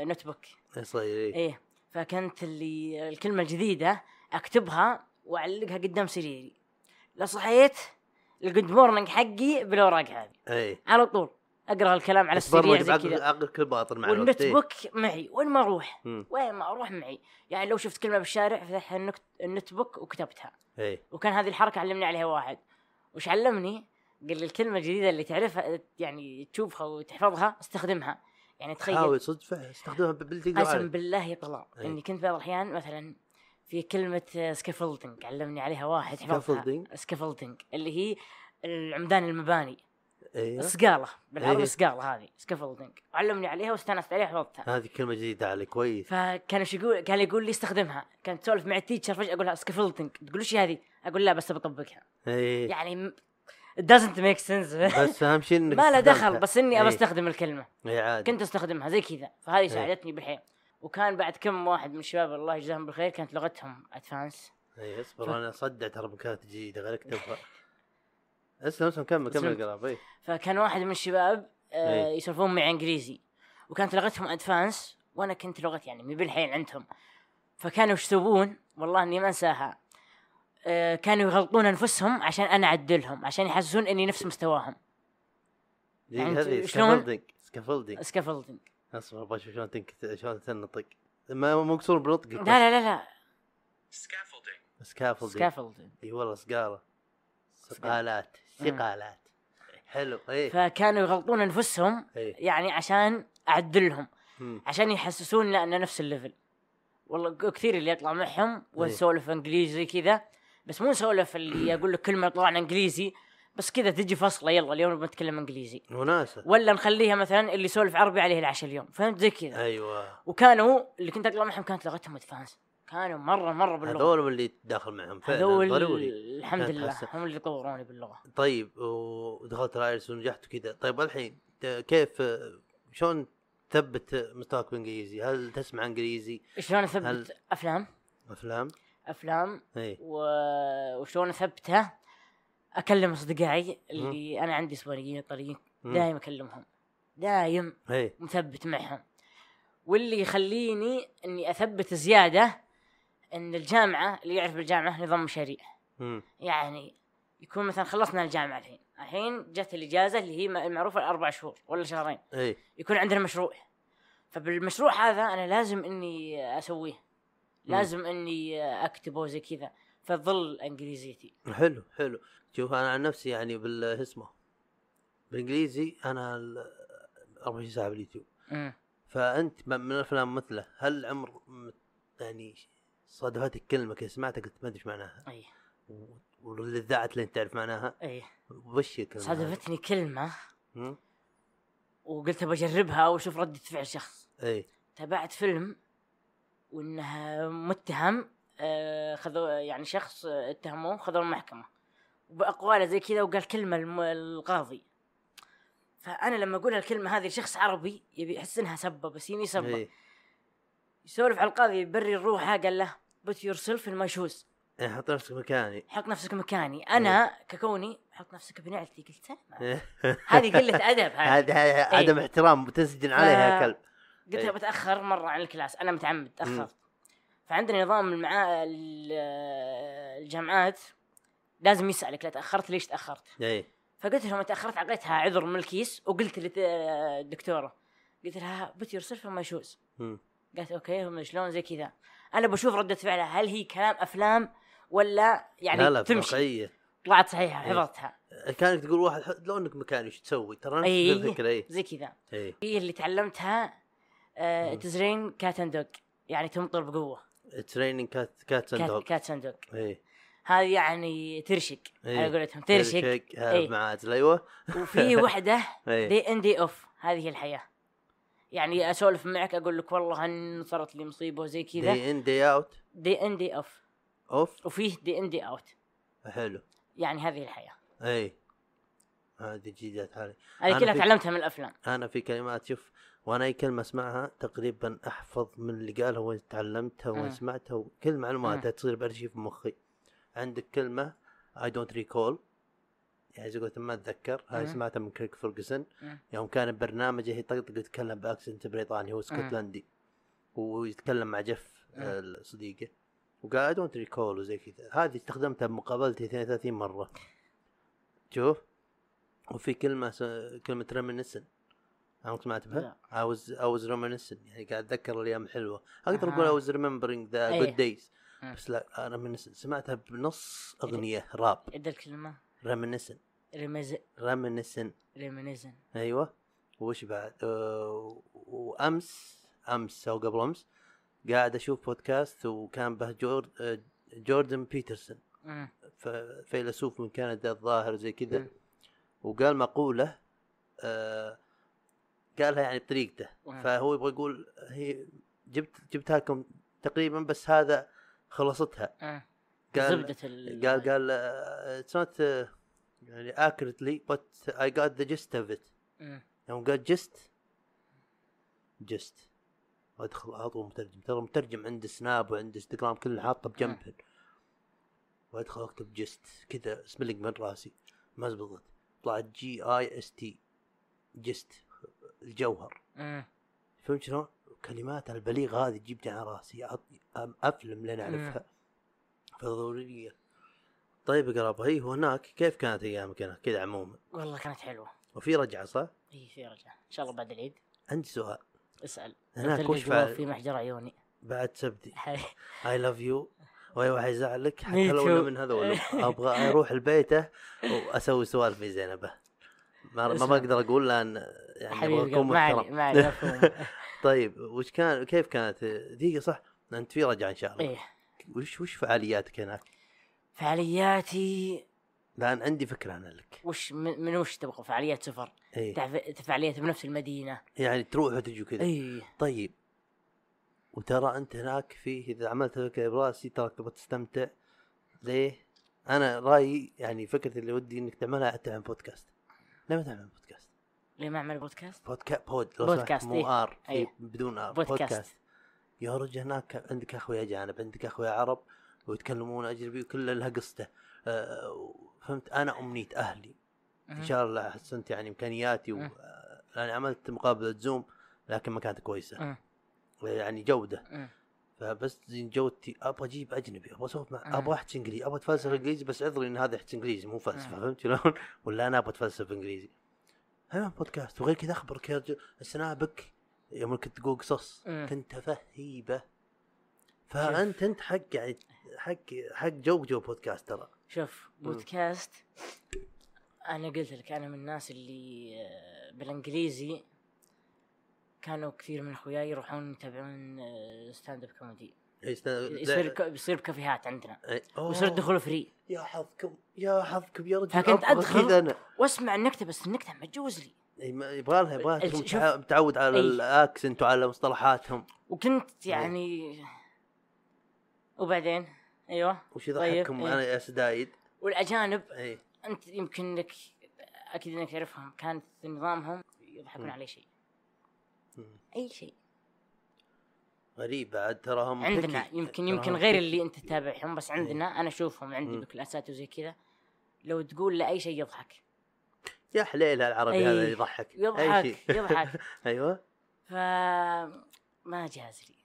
Speaker 2: نوت بوك
Speaker 1: ايه صغير ايه
Speaker 2: ايه فكنت اللي الكلمه الجديده اكتبها واعلقها قدام سريري لا صحيت الجود مورنينج حقي بالاوراق هذه
Speaker 1: ايه
Speaker 2: على طول اقرا الكلام على السريع
Speaker 1: تبرمج
Speaker 2: زي
Speaker 1: بعقل-
Speaker 2: كذا
Speaker 1: عقلك الباطن مع الوقت
Speaker 2: والنوت
Speaker 1: إيه.
Speaker 2: بوك معي وين ما اروح
Speaker 1: مم.
Speaker 2: وين ما اروح معي يعني لو شفت كلمه بالشارع فتحت النكت- النوت بوك وكتبتها
Speaker 1: ايه
Speaker 2: وكان هذه الحركه علمني عليها واحد وش علمني قال لي الكلمه الجديده اللي تعرفها يعني تشوفها وتحفظها استخدمها يعني تخيل
Speaker 1: حاول إيه. صدق فعلا استخدمها بالتقدر
Speaker 2: قسم
Speaker 1: عليه.
Speaker 2: بالله يا طلال
Speaker 1: أي.
Speaker 2: اني كنت بعض الاحيان مثلا في كلمه سكافولدنج علمني عليها واحد حفظها
Speaker 1: Scaffolding؟
Speaker 2: سكافولدنج اللي هي العمدان المباني
Speaker 1: ايه
Speaker 2: السقاله بالعربي
Speaker 1: أي.
Speaker 2: السقاله هذه سكافولدنج علمني عليها واستانست عليها حفظتها
Speaker 1: هذه كلمه جديده علي كويس
Speaker 2: فكان شو يقول كان يقول لي استخدمها كانت تسولف مع التيتشر فجاه اقول لها سكافولدنج تقول وش هي هذه؟ اقول لا بس بطبقها
Speaker 1: ايه
Speaker 2: يعني م- it doesn't make sense
Speaker 1: بس اهم شيء انك
Speaker 2: ما له
Speaker 1: استخدمتها.
Speaker 2: دخل بس اني
Speaker 1: إيه،
Speaker 2: ابى استخدم الكلمه
Speaker 1: اي عادي
Speaker 2: كنت استخدمها زي كذا فهذه ساعدتني بحيل وكان بعد كم واحد من الشباب الله يجزاهم بالخير كانت لغتهم ادفانس
Speaker 1: اي إيه، اصبر انا اصدع ترى بكره تجي غير اكتبها اسلم اسلم كمل كمل
Speaker 2: أسلمت.
Speaker 1: القراب اي
Speaker 2: فكان واحد من الشباب آه
Speaker 1: إيه.
Speaker 2: يسولفون معي انجليزي وكانت لغتهم ادفانس وانا كنت لغتي يعني مي بالحيل عندهم فكانوا ايش يسوون والله اني ما انساها آه كانوا يغلطون انفسهم عشان انا اعدلهم عشان يحسسون اني نفس مستواهم يعني
Speaker 1: إيه، هذه
Speaker 2: شلون؟
Speaker 1: سكافلدنج سكافلدنج
Speaker 2: سكافلدنج
Speaker 1: اصبر ابغى اشوف شلون تنك... شلون تنطق ما مو مقصور بنطقك
Speaker 2: لا لا لا لا
Speaker 1: سكافلدنج
Speaker 2: سكافلدنج
Speaker 1: اي والله سقاره ثقالات ثقالات حلو اي
Speaker 2: فكانوا يغلطون انفسهم
Speaker 1: اي
Speaker 2: يعني عشان اعدلهم
Speaker 1: مم.
Speaker 2: عشان يحسسون ان نفس الليفل والله ك- كثير اللي يطلع معهم ونسولف انجليزي كذا بس مو نسولف اللي اقول لك كلمه طلعنا انجليزي بس كذا تجي فصله يلا اليوم بنتكلم انجليزي
Speaker 1: وناسه
Speaker 2: ولا نخليها مثلا اللي يسولف عربي عليه العشاء اليوم فهمت زي كذا
Speaker 1: ايوه
Speaker 2: وكانوا اللي كنت اطلع معهم كانت لغتهم ادفانس كانوا مره مره باللغه
Speaker 1: هذول اللي تداخل معهم فعلا
Speaker 2: هذول
Speaker 1: ضروري
Speaker 2: الحمد
Speaker 1: كانت
Speaker 2: لله
Speaker 1: حسن.
Speaker 2: هم اللي طوروني باللغه
Speaker 1: طيب ودخلت رايلز ونجحت وكذا طيب الحين ت- كيف شلون تثبت مستواك بالانجليزي؟ هل تسمع انجليزي
Speaker 2: شلون
Speaker 1: هل-
Speaker 2: اثبت افلام
Speaker 1: افلام؟
Speaker 2: افلام
Speaker 1: اي
Speaker 2: و... وشلون اثبته اكلم اصدقائي اللي انا عندي اسبانيين طريق
Speaker 1: مم.
Speaker 2: دايم اكلمهم دايم
Speaker 1: اي
Speaker 2: مثبت معهم واللي يخليني اني اثبت زياده ان الجامعه اللي يعرف بالجامعه نظام مشاريع
Speaker 1: مم.
Speaker 2: يعني يكون مثلا خلصنا الجامعه الحين الحين جت الاجازه اللي هي المعروفه الاربع شهور ولا شهرين
Speaker 1: اي
Speaker 2: يكون عندنا مشروع فبالمشروع هذا انا لازم اني اسويه لازم اني اكتبه زي كذا فتظل انجليزيتي
Speaker 1: حلو حلو شوف انا عن نفسي يعني بال اسمه بالانجليزي انا ال- 24 ساعه باليوتيوب
Speaker 2: مم.
Speaker 1: فانت م- من الافلام مثله هل عمر م- يعني صادفتك كلمه كذا سمعتها قلت ما ادري إيش معناها
Speaker 2: اي
Speaker 1: و- واللي ذاعت لين تعرف معناها
Speaker 2: اي
Speaker 1: وش هي الكلمه هذه؟
Speaker 2: صادفتني كلمه
Speaker 1: مم؟
Speaker 2: وقلت بجربها واشوف رده فعل شخص
Speaker 1: اي
Speaker 2: تابعت فيلم وانها متهم آه، خذوا يعني شخص آه، اتهموه وخذوه المحكمه وباقواله زي كذا وقال كلمه الم- القاضي فانا لما اقول الكلمه هذه لشخص عربي يبي يحس انها سبه بس يني سبه
Speaker 1: اي
Speaker 2: يسولف على القاضي يبرر روحه قال له put yourself in my shoes
Speaker 1: يعني حط نفسك مكاني
Speaker 2: حط نفسك مكاني انا
Speaker 1: إيه.
Speaker 2: ككوني حط نفسك بنعلتي قلت سلمى. هذه قله ادب هذه
Speaker 1: هذه هذه عدم احترام بتسجن عليها
Speaker 2: ف-
Speaker 1: كلب
Speaker 2: قلت
Speaker 1: إيه.
Speaker 2: له بتاخر مره عن الكلاس انا متعمد
Speaker 1: مم.
Speaker 2: تاخرت فعندنا نظام المعا... ال- آه، الجامعات لازم يسالك لا تاخرت ليش تاخرت
Speaker 1: اي
Speaker 2: فقلت لهم تاخرت عقيتها عذر من الكيس وقلت للدكتوره قلت لها put yourself in my shoes
Speaker 1: مم.
Speaker 2: قالت اوكي هم شلون زي كذا انا بشوف رده فعلها هل هي كلام افلام ولا يعني
Speaker 1: لا لا
Speaker 2: تمشي
Speaker 1: تمشي
Speaker 2: طلعت صحيحه
Speaker 1: إيه.
Speaker 2: حفظتها
Speaker 1: كانك تقول واحد ح- لو انك مكاني وش تسوي ترى نفس
Speaker 2: أي.
Speaker 1: الفكره اي
Speaker 2: إيه، زي كذا
Speaker 1: اي
Speaker 2: هي اللي تعلمتها آه تزرين كات اند دوج يعني تمطر بقوه
Speaker 1: تريننج كات كات اند دوغ
Speaker 2: كات, كات اند دوج
Speaker 1: اي
Speaker 2: هذه يعني ترشق
Speaker 1: إيه.
Speaker 2: على قولتهم ترشق
Speaker 1: هذا إيه.
Speaker 2: إيه.
Speaker 1: uh, مع عادل ايوه
Speaker 2: وفي وحده
Speaker 1: اي
Speaker 2: دي ان دي اوف هذه هي الحياه يعني اسولف معك اقول لك والله ان صارت لي مصيبه وزي كذا
Speaker 1: دي ان دي اوت
Speaker 2: دي ان دي اوف
Speaker 1: اوف
Speaker 2: وفيه دي ان دي اوت
Speaker 1: حلو
Speaker 2: يعني هذه الحياه
Speaker 1: اي هذه جديدات هذه أنا
Speaker 2: هذه كلها
Speaker 1: في-
Speaker 2: تعلمتها من الافلام
Speaker 1: انا في كلمات شوف وانا اي كلمه اسمعها تقريبا احفظ من اللي قالها وين تعلمتها وين
Speaker 2: مم.
Speaker 1: سمعتها وكل
Speaker 2: إيه.
Speaker 1: معلوماتها تصير بارشيف مخي عندك كلمه اي دونت ريكول يعني زي قلت ما اتذكر هاي
Speaker 2: مم.
Speaker 1: سمعتها من كريك فورجسون
Speaker 2: مم.
Speaker 1: يوم كان ببرنامجه يطقطق يتكلم باكسنت بريطاني
Speaker 2: إيه.
Speaker 1: هو اسكتلندي ويتكلم مع جف
Speaker 2: مم.
Speaker 1: آه، صديقه وقال اي دونت ريكول وزي كذا هذه استخدمتها بمقابلتي 32 مره شوف وفي كلمه س... كلمه ريمنسن عمرك سمعت بها؟ I was I was reminiscing يعني قاعد اتذكر الايام الحلوه اقدر
Speaker 2: أها.
Speaker 1: اقول I was remembering the
Speaker 2: إيه.
Speaker 1: good days
Speaker 2: مم.
Speaker 1: بس لا reminiscent سمعتها بنص اغنيه راب
Speaker 2: عد الكلمه
Speaker 1: reminiscent
Speaker 2: رمز
Speaker 1: reminiscent
Speaker 2: ريمينيزن
Speaker 1: ايوه وش بعد أه... وامس امس او قبل امس قاعد اشوف بودكاست وكان به جور... أه، جوردن بيترسون ف... فيلسوف من كندا الظاهر زي كذا
Speaker 2: مم.
Speaker 1: وقال مقوله آه قالها يعني بطريقته
Speaker 2: مم.
Speaker 1: فهو يبغى يقول هي جبت جبتها لكم تقريبا بس هذا خلصتها قال آه،
Speaker 2: زبده ال
Speaker 1: قال قال اتس نوت يعني accurately but I got the gist of it
Speaker 2: مم.
Speaker 1: يوم قال جست جست ادخل على طول مترجم ترى مترجم عند سناب وعند انستغرام كله حاطه بجنبه وادخل اكتب جست كذا سبلنج من راسي ما زبطت طلعت جي اي اس تي جست الجوهر
Speaker 2: مم.
Speaker 1: فهمت شلون؟ كلمات البليغه هذه تجيبني على راسي أط- أم- افلم لين اعرفها فضروريه طيب يا قرابه هي هناك كيف كانت ايامك هناك كذا عموما
Speaker 2: والله كانت حلوه
Speaker 1: وفي رجعه صح؟
Speaker 2: اي في رجعه ان شاء الله بعد العيد
Speaker 1: عندي سؤال
Speaker 2: اسال
Speaker 1: هناك
Speaker 2: تلقى
Speaker 1: وش
Speaker 2: الجواب
Speaker 1: فعل
Speaker 2: في محجر عيوني
Speaker 1: بعد سبدي اي لاف يو واي واحد يزعلك
Speaker 2: Me
Speaker 1: حتى لو إنه
Speaker 2: too.
Speaker 1: من هذول ابغى اروح لبيته واسوي سؤال في زينبه ما ما
Speaker 2: اسمع.
Speaker 1: بقدر اقول لان يعني
Speaker 2: حبيبي
Speaker 1: ابغى
Speaker 2: قلب،
Speaker 1: اكون
Speaker 2: ما علي
Speaker 1: محترم
Speaker 2: ما علي مفهوم.
Speaker 1: طيب وش كان كيف كانت دقيقه صح انت في رجعه ان شاء الله
Speaker 2: ايه
Speaker 1: وش وش فعالياتك هناك؟
Speaker 2: فعالياتي
Speaker 1: لان عندي فكره انا لك
Speaker 2: وش من, من وش تبغى فعاليات سفر
Speaker 1: اي
Speaker 2: تعف- فعاليات بنفس المدينه
Speaker 1: يعني تروح وتجي كذا
Speaker 2: اي
Speaker 1: طيب وترى انت هناك فيه اذا عملت فكره براسي ترى تبغى تستمتع ليه؟ انا رايي يعني فكرة اللي ودي انك تعملها حتى عن بودكاست ليه ما تعمل بودكاست؟
Speaker 2: ليه ما اعمل بودكاست؟
Speaker 1: بودكا بود لو سمحت،
Speaker 2: بودكاست،
Speaker 1: مو
Speaker 2: إيه.
Speaker 1: ار في
Speaker 2: إيه.
Speaker 1: بدون ار
Speaker 2: بودكاست.
Speaker 1: يا رجل هناك عندك اخويا اجانب عندك اخويا عرب ويتكلمون اجنبي وكل لها قصته أه فهمت انا امنيت اهلي ان شاء الله حسنت يعني امكانياتي و...
Speaker 2: مم.
Speaker 1: آه، لاني عملت مقابله زوم لكن ما كانت كويسه
Speaker 2: مم. إيه.
Speaker 1: يعني جوده
Speaker 2: مم.
Speaker 1: فبس زين جودتي ابغى اجيب اجنبي ابغى اسولف مع
Speaker 2: مم.
Speaker 1: ابغى احكي انجليزي ابغى اتفلسف انجليزي بس عذري ان هذا يحكي انجليزي مو فلسفه
Speaker 2: مم.
Speaker 1: فهمت شلون؟ ولا انا ابغى اتفلسف انجليزي انا أيوة، بودكاست وغير كذا اخبرك يا رجل سنابك يوم كنت تقول قصص
Speaker 2: مم.
Speaker 1: كنت فهيبه فانت انت حق يعني حق حق جو جو بودكاست ترى
Speaker 2: شوف بودكاست انا قلت لك انا من الناس اللي آه، بالانجليزي كانوا كثير من اخوياي يروحون يتابعون ستاند اب كوميدي
Speaker 1: يعني
Speaker 2: يعني يصير ك- يصير بكافيهات عندنا ويصير الدخول فري
Speaker 1: يا حظكم يا حظكم يا رجل
Speaker 2: فكنت
Speaker 1: أبغى
Speaker 2: أدخل-
Speaker 1: كذا انا
Speaker 2: واسمع النكته بس النكته ما تجوز لي
Speaker 1: يبغى لها يبغى لها
Speaker 2: شوف.
Speaker 1: تكون متعود على
Speaker 2: أي.
Speaker 1: الاكسنت وعلى مصطلحاتهم
Speaker 2: وكنت يعني وبعدين ايوه
Speaker 1: وش
Speaker 2: طيب،
Speaker 1: يضحككم
Speaker 2: إيه.
Speaker 1: انا يا سدايد
Speaker 2: والاجانب
Speaker 1: اي
Speaker 2: انت يمكن لك اكيد انك تعرفهم كانت نظامهم يضحكون
Speaker 1: مم.
Speaker 2: على شيء
Speaker 1: مم.
Speaker 2: اي شيء
Speaker 1: غريب بعد ترى هم
Speaker 2: عندنا
Speaker 1: picky.
Speaker 2: يمكن
Speaker 1: ترى
Speaker 2: يمكن
Speaker 1: هم
Speaker 2: غير
Speaker 1: picky.
Speaker 2: اللي انت تتابعهم بس عندنا انا اشوفهم عندي
Speaker 1: مم.
Speaker 2: بكلاسات وزي كذا لو تقول له اي شيء يضحك
Speaker 1: يا حليله العربي
Speaker 2: أي.
Speaker 1: هذا اللي يضحك أي شيء.
Speaker 2: يضحك يضحك
Speaker 1: ايوه
Speaker 2: ف ما جاز لي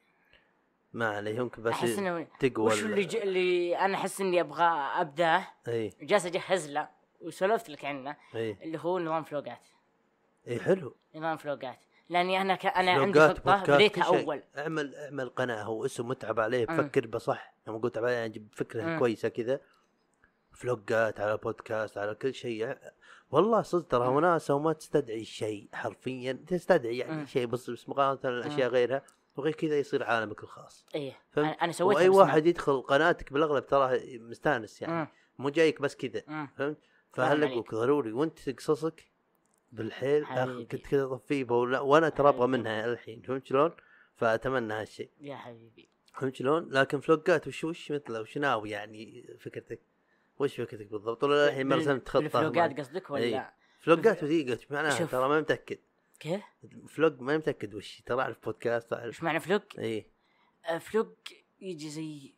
Speaker 1: ما عليه يمكن بس
Speaker 2: احس انه
Speaker 1: تقوى
Speaker 2: وش
Speaker 1: ال-
Speaker 2: اللي, ج... اللي انا احس اني ابغى ابداه
Speaker 1: اي
Speaker 2: جالس اجهز له وسولفت لك عنه
Speaker 1: اي
Speaker 2: اللي هو نظام فلوقات
Speaker 1: اي حلو
Speaker 2: نظام فلوقات لاني انا ك... انا عندي
Speaker 1: لوجات،
Speaker 2: خطه
Speaker 1: بودكاست،
Speaker 2: بديتها
Speaker 1: كل شيء.
Speaker 2: اول
Speaker 1: اعمل اعمل قناه هو اسم اتعب عليه
Speaker 2: مم.
Speaker 1: فكر بصح لما قلت تعب عليه يعني اجيب فكره
Speaker 2: مم.
Speaker 1: كويسه كذا فلوقات على بودكاست على كل شيء والله صدق ترى وناسه وما تستدعي شيء حرفيا تستدعي يعني
Speaker 2: مم.
Speaker 1: شيء بس بس مقارنه الاشياء غيرها وغير كذا يصير عالمك الخاص
Speaker 2: ايه
Speaker 1: فهمت؟
Speaker 2: انا أنا سويتها
Speaker 1: واي
Speaker 2: بس ما-
Speaker 1: واحد يدخل قناتك بالاغلب تراه مستانس يعني
Speaker 2: مم.
Speaker 1: مو جايك بس كذا
Speaker 2: مم.
Speaker 1: فهمت؟
Speaker 2: فاهم
Speaker 1: فهلقوك
Speaker 2: عليك.
Speaker 1: ضروري وانت قصصك بالحيل آخ،
Speaker 2: حبيبي.
Speaker 1: كنت كذا طفيبه ولا وانا ترى ابغى
Speaker 2: حبيبي.
Speaker 1: منها الحين فهمت شلون؟ فاتمنى هالشيء
Speaker 2: يا حبيبي
Speaker 1: فهمت شلون؟ لكن فلوقات وش وش مثله وش ناوي يعني فكرتك؟ وش فكرتك بالضبط؟ ولا الحين ما
Speaker 2: بال-
Speaker 1: رسمت خطه
Speaker 2: بالفلوقات
Speaker 1: معك؟
Speaker 2: قصدك ولا
Speaker 1: إيه. فلوقات وثيقه وش معناها
Speaker 2: شوف.
Speaker 1: ترى ما متاكد
Speaker 2: كيف؟
Speaker 1: فلوق ما متاكد وش ترى اعرف بودكاست اعرف
Speaker 2: ايش معنى فلوق؟
Speaker 1: اي إيه.
Speaker 2: آه، فلوق يجي زي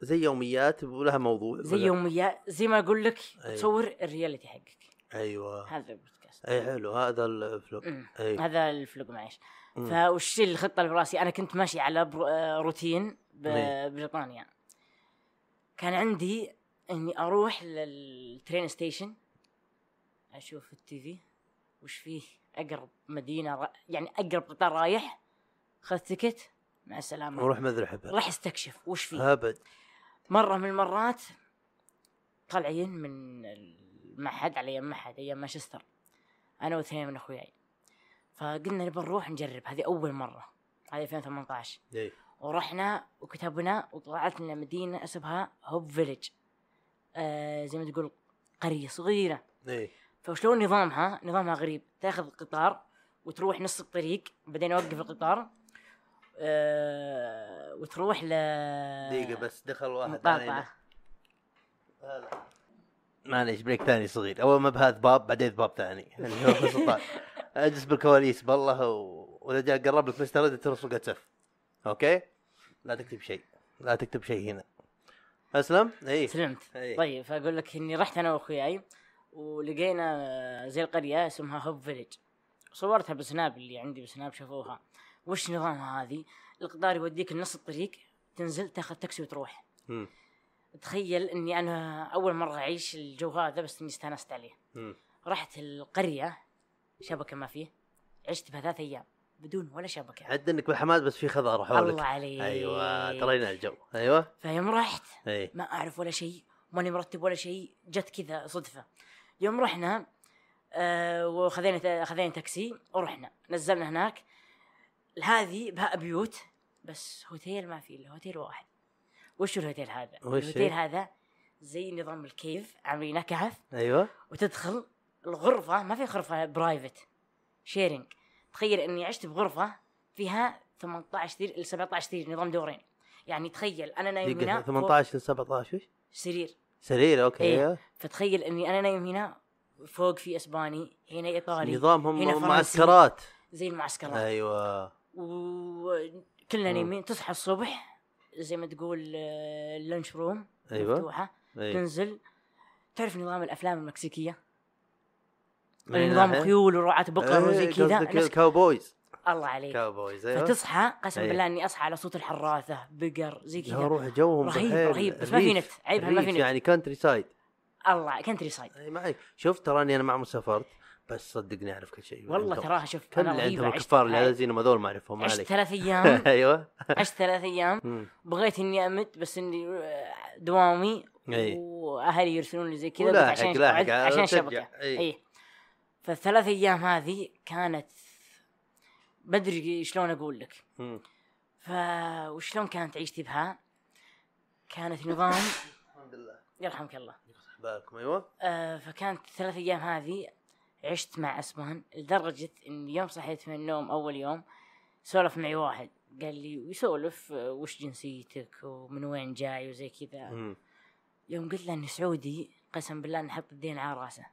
Speaker 1: زي يوميات ولها موضوع
Speaker 2: زي
Speaker 1: ولا- إيه.
Speaker 2: يوميات زي ما اقول لك
Speaker 1: أي.
Speaker 2: تصور الرياليتي حقك
Speaker 1: ايوه
Speaker 2: هذا البودكاست
Speaker 1: اي حلو هذا الفلوق
Speaker 2: أمم.
Speaker 1: اي
Speaker 2: هذا الفلوق معيش
Speaker 1: أمم.
Speaker 2: فوش الخطه اللي براسي انا كنت ماشي على برو... آه، روتين
Speaker 1: أي.
Speaker 2: ببريطانيا كان عندي اني اروح للترين ستيشن اشوف التي في وش فيه اقرب مدينه را... يعني اقرب قطار رايح خذ تكت مع السلامه
Speaker 1: وروح مذرحبها
Speaker 2: راح استكشف وش فيه
Speaker 1: ابد
Speaker 2: مره من المرات طالعين من المعهد على ايام معهد ايام مانشستر انا واثنين من اخوياي فقلنا نبي نروح نجرب هذه اول مره هذه 2018
Speaker 1: اي
Speaker 2: ورحنا وكتبنا وطلعت لنا مدينه اسمها هوب فيلج آه زي ما تقول قريه صغيره
Speaker 1: اي
Speaker 2: فشلون نظامها؟ نظامها غريب، تاخذ قطار وتروح نص الطريق بعدين اوقف القطار آه وتروح ل
Speaker 1: دقيقة بس دخل واحد علينا
Speaker 2: مقاطعة
Speaker 1: هلا معليش بريك ثاني صغير اول ما بهذا باب بعدين باب ثاني اللي هو في السلطان اجلس بالكواليس بالله و... واذا جاء قرب لك مستر ريد ترص فوق سف اوكي لا تكتب شيء لا تكتب شيء هنا اسلم اي
Speaker 2: سلمت
Speaker 1: إيه.
Speaker 2: طيب فاقول لك اني رحت انا واخوياي ولقينا آه، زي القريه اسمها هوب فيلج صورتها بسناب اللي عندي بسناب شافوها وش نظامها هذه القطار يوديك لنص الطريق تنزل تاخذ تاكسي وتروح
Speaker 1: مم.
Speaker 2: تخيل اني انا اول مره اعيش الجو هذا بس اني استانست عليه
Speaker 1: مم.
Speaker 2: رحت القريه شبكه ما فيه عشت بها ثلاث ايام بدون ولا شبكه
Speaker 1: عد انك بالحماس بس في خضار حولك
Speaker 2: الله عليك
Speaker 1: ايوه ترينا الجو إيه. ايوه
Speaker 2: فيوم رحت
Speaker 1: اي
Speaker 2: ما اعرف ولا شيء ماني مرتب ولا شيء جت كذا صدفه يوم رحنا آه وخذينا تا- خذينا تاكسي ورحنا نزلنا هناك هذه بها بيوت بس هوتيل ما في الا هوتيل واحد وش الهوتيل هذا؟
Speaker 1: وش
Speaker 2: الهوتيل
Speaker 1: هي؟
Speaker 2: هذا زي نظام الكيف عاملينه كهف
Speaker 1: ايوه
Speaker 2: وتدخل الغرفة ما في غرفة برايفت شيرنج تخيل اني عشت بغرفة فيها 18 سرير ل 17 سرير نظام دورين يعني تخيل انا نايم هنا
Speaker 1: دقيقة
Speaker 2: فوق
Speaker 1: 18 ل 17 وش؟
Speaker 2: سرير
Speaker 1: سرير اوكي
Speaker 2: إيه.
Speaker 1: أيوة.
Speaker 2: فتخيل اني انا نايم هنا فوق في اسباني هنا ايطالي هنا
Speaker 1: نظامهم
Speaker 2: فرنسي.
Speaker 1: معسكرات
Speaker 2: زي المعسكرات
Speaker 1: ايوه
Speaker 2: وكلنا
Speaker 1: مم.
Speaker 2: نايمين تصحى الصبح زي ما تقول آه، اللانش روم
Speaker 1: ايوه
Speaker 2: مفتوحة
Speaker 1: أيوة.
Speaker 2: تنزل تعرف نظام الافلام المكسيكية
Speaker 1: من
Speaker 2: نظام
Speaker 1: ناحية؟
Speaker 2: خيول ورعاة بقر
Speaker 1: إيه،
Speaker 2: وزي كذا
Speaker 1: نعم.
Speaker 2: إيه،
Speaker 1: قصدك
Speaker 2: نفس-
Speaker 1: الكاوبويز
Speaker 2: الله عليك
Speaker 1: كاوبويز ايوه
Speaker 2: فتصحى قسم
Speaker 1: أيوه.
Speaker 2: بالله اني اصحى على صوت الحراثه بقر زي
Speaker 1: يا
Speaker 2: كذا
Speaker 1: روح جوهم
Speaker 2: رهيب
Speaker 1: بالحيل.
Speaker 2: رهيب بس ما في
Speaker 1: الريف-
Speaker 2: نت عيبها ما في
Speaker 1: الريف
Speaker 2: نت
Speaker 1: يعني كانتري سايد
Speaker 2: الله كنتري سايد
Speaker 1: اي معي شوف تراني انا مع مسافرت بس صدقني اعرف كل شيء
Speaker 2: والله
Speaker 1: أنتم-
Speaker 2: تراها شوف
Speaker 1: كل
Speaker 2: انا
Speaker 1: اللي
Speaker 2: رهيبه
Speaker 1: عندهم
Speaker 2: عشت
Speaker 1: الكفار اللي على
Speaker 2: هاي-
Speaker 1: زينهم هذول ما اعرفهم ما
Speaker 2: عشت
Speaker 1: عليك
Speaker 2: ثلاث ايام
Speaker 1: ايوه
Speaker 2: عشت ثلاث ايام
Speaker 1: مم.
Speaker 2: بغيت اني امت بس اني آه، دوامي
Speaker 1: إي.
Speaker 2: واهلي يرسلون لي زي كذا بس
Speaker 1: ولاحق-
Speaker 2: عشان
Speaker 1: لاحق
Speaker 2: عد-
Speaker 1: على
Speaker 2: عشان
Speaker 1: ترجع.
Speaker 2: شبكه
Speaker 1: إي.
Speaker 2: اي فالثلاث ايام هذه كانت بدري شلون اقول لك
Speaker 1: مم.
Speaker 2: ف وشلون كانت عيشتي بها؟ كانت نظام
Speaker 1: الحمد لله
Speaker 2: يرحمك الله
Speaker 1: بالكم ايوه
Speaker 2: آه، فكانت الثلاث ايام هذه عشت مع اسبان لدرجه ان يوم صحيت من النوم اول يوم سولف معي واحد قال لي ويسولف آه، وش جنسيتك ومن وين جاي وزي كذا
Speaker 1: مم.
Speaker 2: يوم قلت له اني سعودي قسم بالله نحط الدين على راسه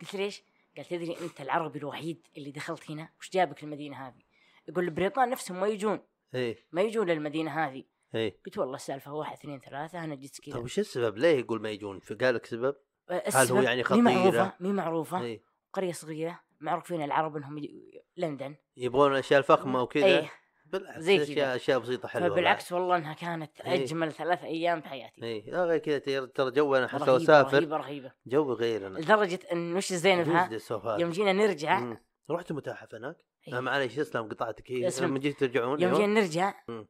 Speaker 2: قلت له ليش؟ قال تدري انت العربي الوحيد اللي دخلت هنا وش جابك المدينه هذه؟ يقول البريطان نفسهم ما يجون
Speaker 1: اي
Speaker 2: ما يجون للمدينه هذه
Speaker 1: اي
Speaker 2: قلت والله السالفه واحد اثنين ثلاثه انا جيت كذا
Speaker 1: إيه. طيب وش السبب ليه يقول ما يجون قال لك سبب إيه.
Speaker 2: آه،
Speaker 1: هل
Speaker 2: السبب
Speaker 1: هو يعني
Speaker 2: مي
Speaker 1: خطيره
Speaker 2: معروفه مي معروفه
Speaker 1: اي
Speaker 2: قرية صغيرة معروفين العرب انهم يجي- لندن
Speaker 1: يبغون الاشياء الفخمه وكذا
Speaker 2: ايه
Speaker 1: بالعكس
Speaker 2: زي
Speaker 1: أشياء-
Speaker 2: كذا.
Speaker 1: اشياء بسيطه حلوه
Speaker 2: فبالعكس والله انها كانت
Speaker 1: إيه.
Speaker 2: اجمل ثلاث ايام بحياتي
Speaker 1: اي لا إيه. آه، غير كذا ترى- ترى جو انا حتى لو
Speaker 2: رهيبة
Speaker 1: اسافر
Speaker 2: رهيبة رهيبة
Speaker 1: جو غير انا
Speaker 2: لدرجة ان وش الزين
Speaker 1: يجوز
Speaker 2: بها
Speaker 1: لي السفر.
Speaker 2: يوم جينا نرجع
Speaker 1: مم. رحت متاحف هناك؟
Speaker 2: إيه.
Speaker 1: أنا معليش اسلام قطعتك هي
Speaker 2: اسلم.
Speaker 1: لما جيت ترجعون أيوه.
Speaker 2: يوم جينا نرجع
Speaker 1: مم.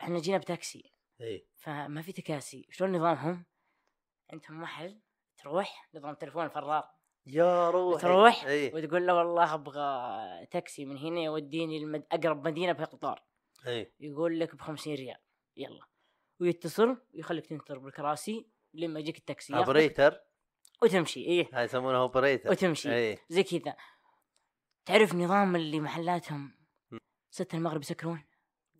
Speaker 2: احنا جينا بتاكسي
Speaker 1: اي
Speaker 2: فما في تكاسي شلون نظامهم عندهم محل تروح نظام تلفون فرار
Speaker 1: يا روحي إيه.
Speaker 2: تروح
Speaker 1: اي
Speaker 2: وتقول له والله ابغى تاكسي من هنا يوديني المد... اقرب مدينه بقطار
Speaker 1: اي
Speaker 2: يقول لك ب 50 ريال يلا ويتصل ويخليك تنتظر بالكراسي لما يجيك التاكسي ياخذك
Speaker 1: اوبريتر
Speaker 2: وتمشي ايه
Speaker 1: هاي يسمونها إيه. اوبريتر
Speaker 2: وتمشي
Speaker 1: اي
Speaker 2: زي كذا تعرف نظام اللي محلاتهم
Speaker 1: م.
Speaker 2: ستة المغرب يسكرون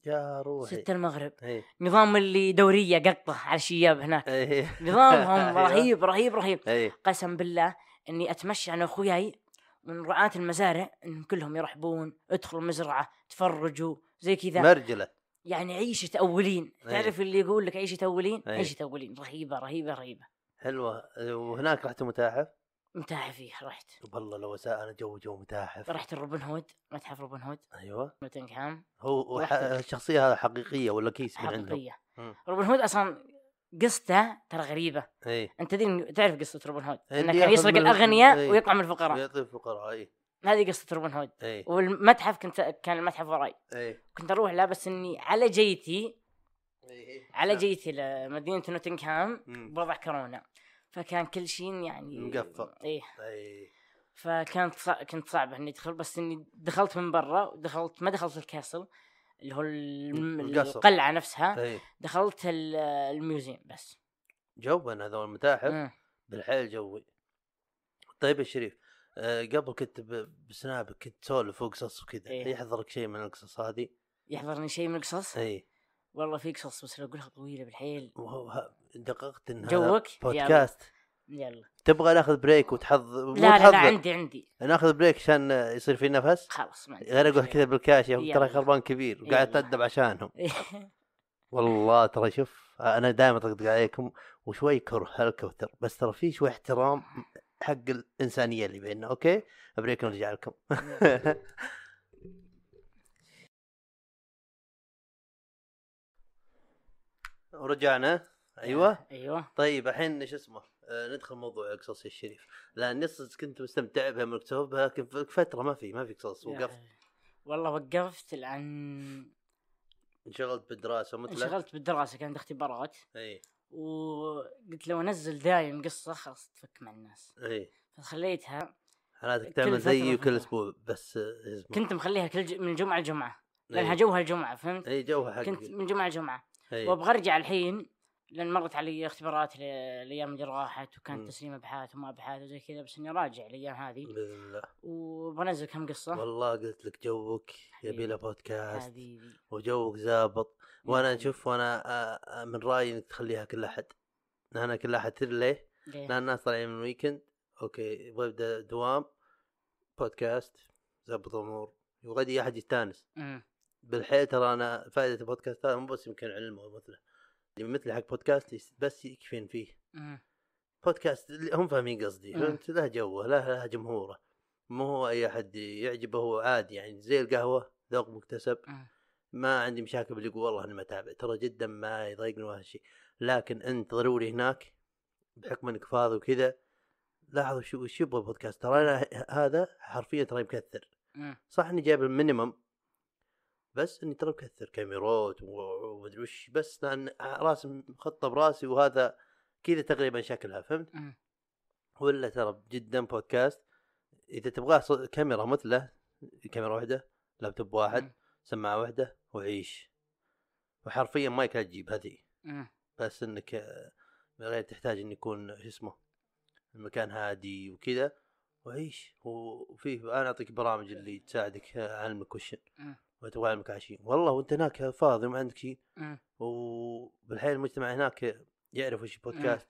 Speaker 1: يا روحي إيه.
Speaker 2: ستة المغرب
Speaker 1: اي
Speaker 2: نظام اللي دورية قطة على الشياب هناك
Speaker 1: اي
Speaker 2: نظامهم
Speaker 1: أيوة.
Speaker 2: رهيب رهيب رهيب
Speaker 1: اي
Speaker 2: قسم بالله اني اتمشى انا واخوياي من رعاة المزارع انهم كلهم يرحبون ادخلوا مزرعة تفرجوا زي كذا
Speaker 1: مرجله
Speaker 2: يعني عيشة أولين
Speaker 1: أي.
Speaker 2: تعرف اللي يقول لك عيشة أولين
Speaker 1: أي.
Speaker 2: عيشة أولين رهيبة رهيبة رهيبة
Speaker 1: حلوه وهناك رحت متاحف
Speaker 2: متاحف فيه رحت
Speaker 1: والله لو اساء انا جو جو متاحف
Speaker 2: رحت روبن هود متحف روبن هود
Speaker 1: ايوه
Speaker 2: نوتنغهام
Speaker 1: هو
Speaker 2: رحت.
Speaker 1: ح- الشخصيه هذه حقيقيه ولا كيس من عندهم
Speaker 2: حقيقية
Speaker 1: مم.
Speaker 2: روبن هود أصلا قصته ترى غريبة
Speaker 1: اي
Speaker 2: أنت تدري تعرف قصة روبن هود
Speaker 1: أي،
Speaker 2: أنه
Speaker 1: اللي
Speaker 2: كان
Speaker 1: ياخذ
Speaker 2: يسرق
Speaker 1: من-
Speaker 2: الأغنياء
Speaker 1: أي.
Speaker 2: ويطلع من الفقراء
Speaker 1: يعطي الفقراء اي
Speaker 2: هذه قصة روبن هود
Speaker 1: اي
Speaker 2: والمتحف كنت كان المتحف وراي
Speaker 1: اي
Speaker 2: كنت أروح لابس إني على جيتي
Speaker 1: إيه. نعم.
Speaker 2: على جيتي لمدينة نوتنغهام
Speaker 1: مم.
Speaker 2: بوضع كورونا فكان كل شيء يعني
Speaker 1: مقفل.
Speaker 2: إيه
Speaker 1: اي
Speaker 2: فكانت صع... كنت صعبه اني ادخل بس اني دخلت من برا ودخلت ما دخلت الكاسل اللي هو الم...
Speaker 1: القصر.
Speaker 2: القلعه نفسها
Speaker 1: اي
Speaker 2: دخلت ال- الميوزيوم بس
Speaker 1: جوبا هذول المتاحف
Speaker 2: مم.
Speaker 1: بالحيل جوي طيب يا شريف آه، قبل كنت ب- بسنابك كنت تسولف وقصص وكذا
Speaker 2: إيه.
Speaker 1: إيه؟ يحضرك شيء من القصص هذه إيه.
Speaker 2: يحضرني شيء من القصص
Speaker 1: اي
Speaker 2: والله في قصص بس لو اقولها طويله بالحيل
Speaker 1: وهو- ه- دققت ان هذا
Speaker 2: جوك؟ يا
Speaker 1: بودكاست
Speaker 2: يلا
Speaker 1: تبغى ناخذ بريك وتحض
Speaker 2: لا لا, لا عندي عندي
Speaker 1: ناخذ بريك عشان يصير في نفس
Speaker 2: خلاص ما عندي
Speaker 1: غير اقول كذا بالكاش يا أخي
Speaker 2: يلا.
Speaker 1: ترى خربان كبير وقاعد
Speaker 2: يلا.
Speaker 1: اتأدب عشانهم والله ترى شوف انا دائما اطقطق عليكم وشوي كره هالكوثر بس ترى في شوي احترام حق الانسانيه اللي بيننا اوكي بريك نرجع لكم ورجعنا ايوه
Speaker 2: ايوه
Speaker 1: طيب الحين شو اسمه آه ندخل موضوع القصص يا شريف لاني صدق كنت مستمتع بها من كتبها لكن في فتره ما في ما في قصص وقفت
Speaker 2: والله وقفت الان
Speaker 1: انشغلت بالدراسه مثلك
Speaker 2: انشغلت بالدراسه كانت اختبارات
Speaker 1: اي
Speaker 2: وقلت لو انزل دايم قصه خلاص تفك مع الناس
Speaker 1: اي
Speaker 2: فخليتها
Speaker 1: حالاتك
Speaker 2: كل
Speaker 1: تعمل
Speaker 2: فترة
Speaker 1: زيي
Speaker 2: فترة.
Speaker 1: وكل اسبوع بس آه، اسبوع.
Speaker 2: كنت مخليها كل ج... من جمعه لجمعه لانها
Speaker 1: إي.
Speaker 2: جوها الجمعه فهمت؟
Speaker 1: اي إيه، جوها إيه. حق إيه.
Speaker 2: كنت من جمعه لجمعه
Speaker 1: اي
Speaker 2: وابغى ارجع الحين لان مرت علي اختبارات ل- الايام اللي راحت
Speaker 1: مم.
Speaker 2: وكانت تسليم ابحاث وما ابحاث وزي كذا بس اني راجع الايام هذه
Speaker 1: باذن الله
Speaker 2: وبنزل كم قصه
Speaker 1: والله قلت لك جوك يبي له
Speaker 2: حبيبي.
Speaker 1: بودكاست
Speaker 2: حبيبي
Speaker 1: وجوك زابط وانا
Speaker 2: حبيبي.
Speaker 1: نشوف وانا آه، آه، من رايي انك تخليها كل احد انا كل احد تدري ليه؟
Speaker 2: ليه؟
Speaker 1: لان الناس طالعين من الويكند اوكي يبغى يبدا دوام بودكاست زبط امور وغادي احد يستانس
Speaker 2: مم.
Speaker 1: بالحيل ترى انا فائده البودكاست هذا مو بس يمكن علم ومثله اللي مثل حق بودكاست يس- بس يكفين فيه
Speaker 2: مم.
Speaker 1: بودكاست اللي هم فاهمين قصدي
Speaker 2: مم.
Speaker 1: فهمت له جوه له له جمهوره مو هو اي احد يعجبه هو عادي يعني زي القهوه ذوق مكتسب
Speaker 2: مم.
Speaker 1: ما عندي مشاكل باللي يقول والله انا ما اتابع ترى جدا ما يضايقني ولا شيء لكن انت ضروري هناك بحكم انك فاضي وكذا لاحظوا شو وش يبغى البودكاست ترى انا هذا حرفيا ترى مكثر
Speaker 2: مم.
Speaker 1: صح اني جايب المينيمم بس اني ترى مكثر كاميرات و- ومدري وش بس لان راسم خطه براسي وهذا كذا تقريبا شكلها فهمت؟
Speaker 2: مم.
Speaker 1: ولا ترى جدا بودكاست اذا تبغاه ص- كاميرا مثله كاميرا واحده لابتوب واحد
Speaker 2: مم.
Speaker 1: سماعه واحده وعيش وحرفيا مايك لا تجيب هذه
Speaker 2: مم.
Speaker 1: بس انك آه، من غير تحتاج ان يكون شو اسمه المكان هادي وكذا وعيش وفيه انا اعطيك برامج اللي تساعدك آه، اعلمك وش
Speaker 2: مم.
Speaker 1: وتبغى اعلمك عشين والله وانت هناك فاضي ما عندك شيء
Speaker 2: مم.
Speaker 1: وبالحين المجتمع هناك يعرف وش بودكاست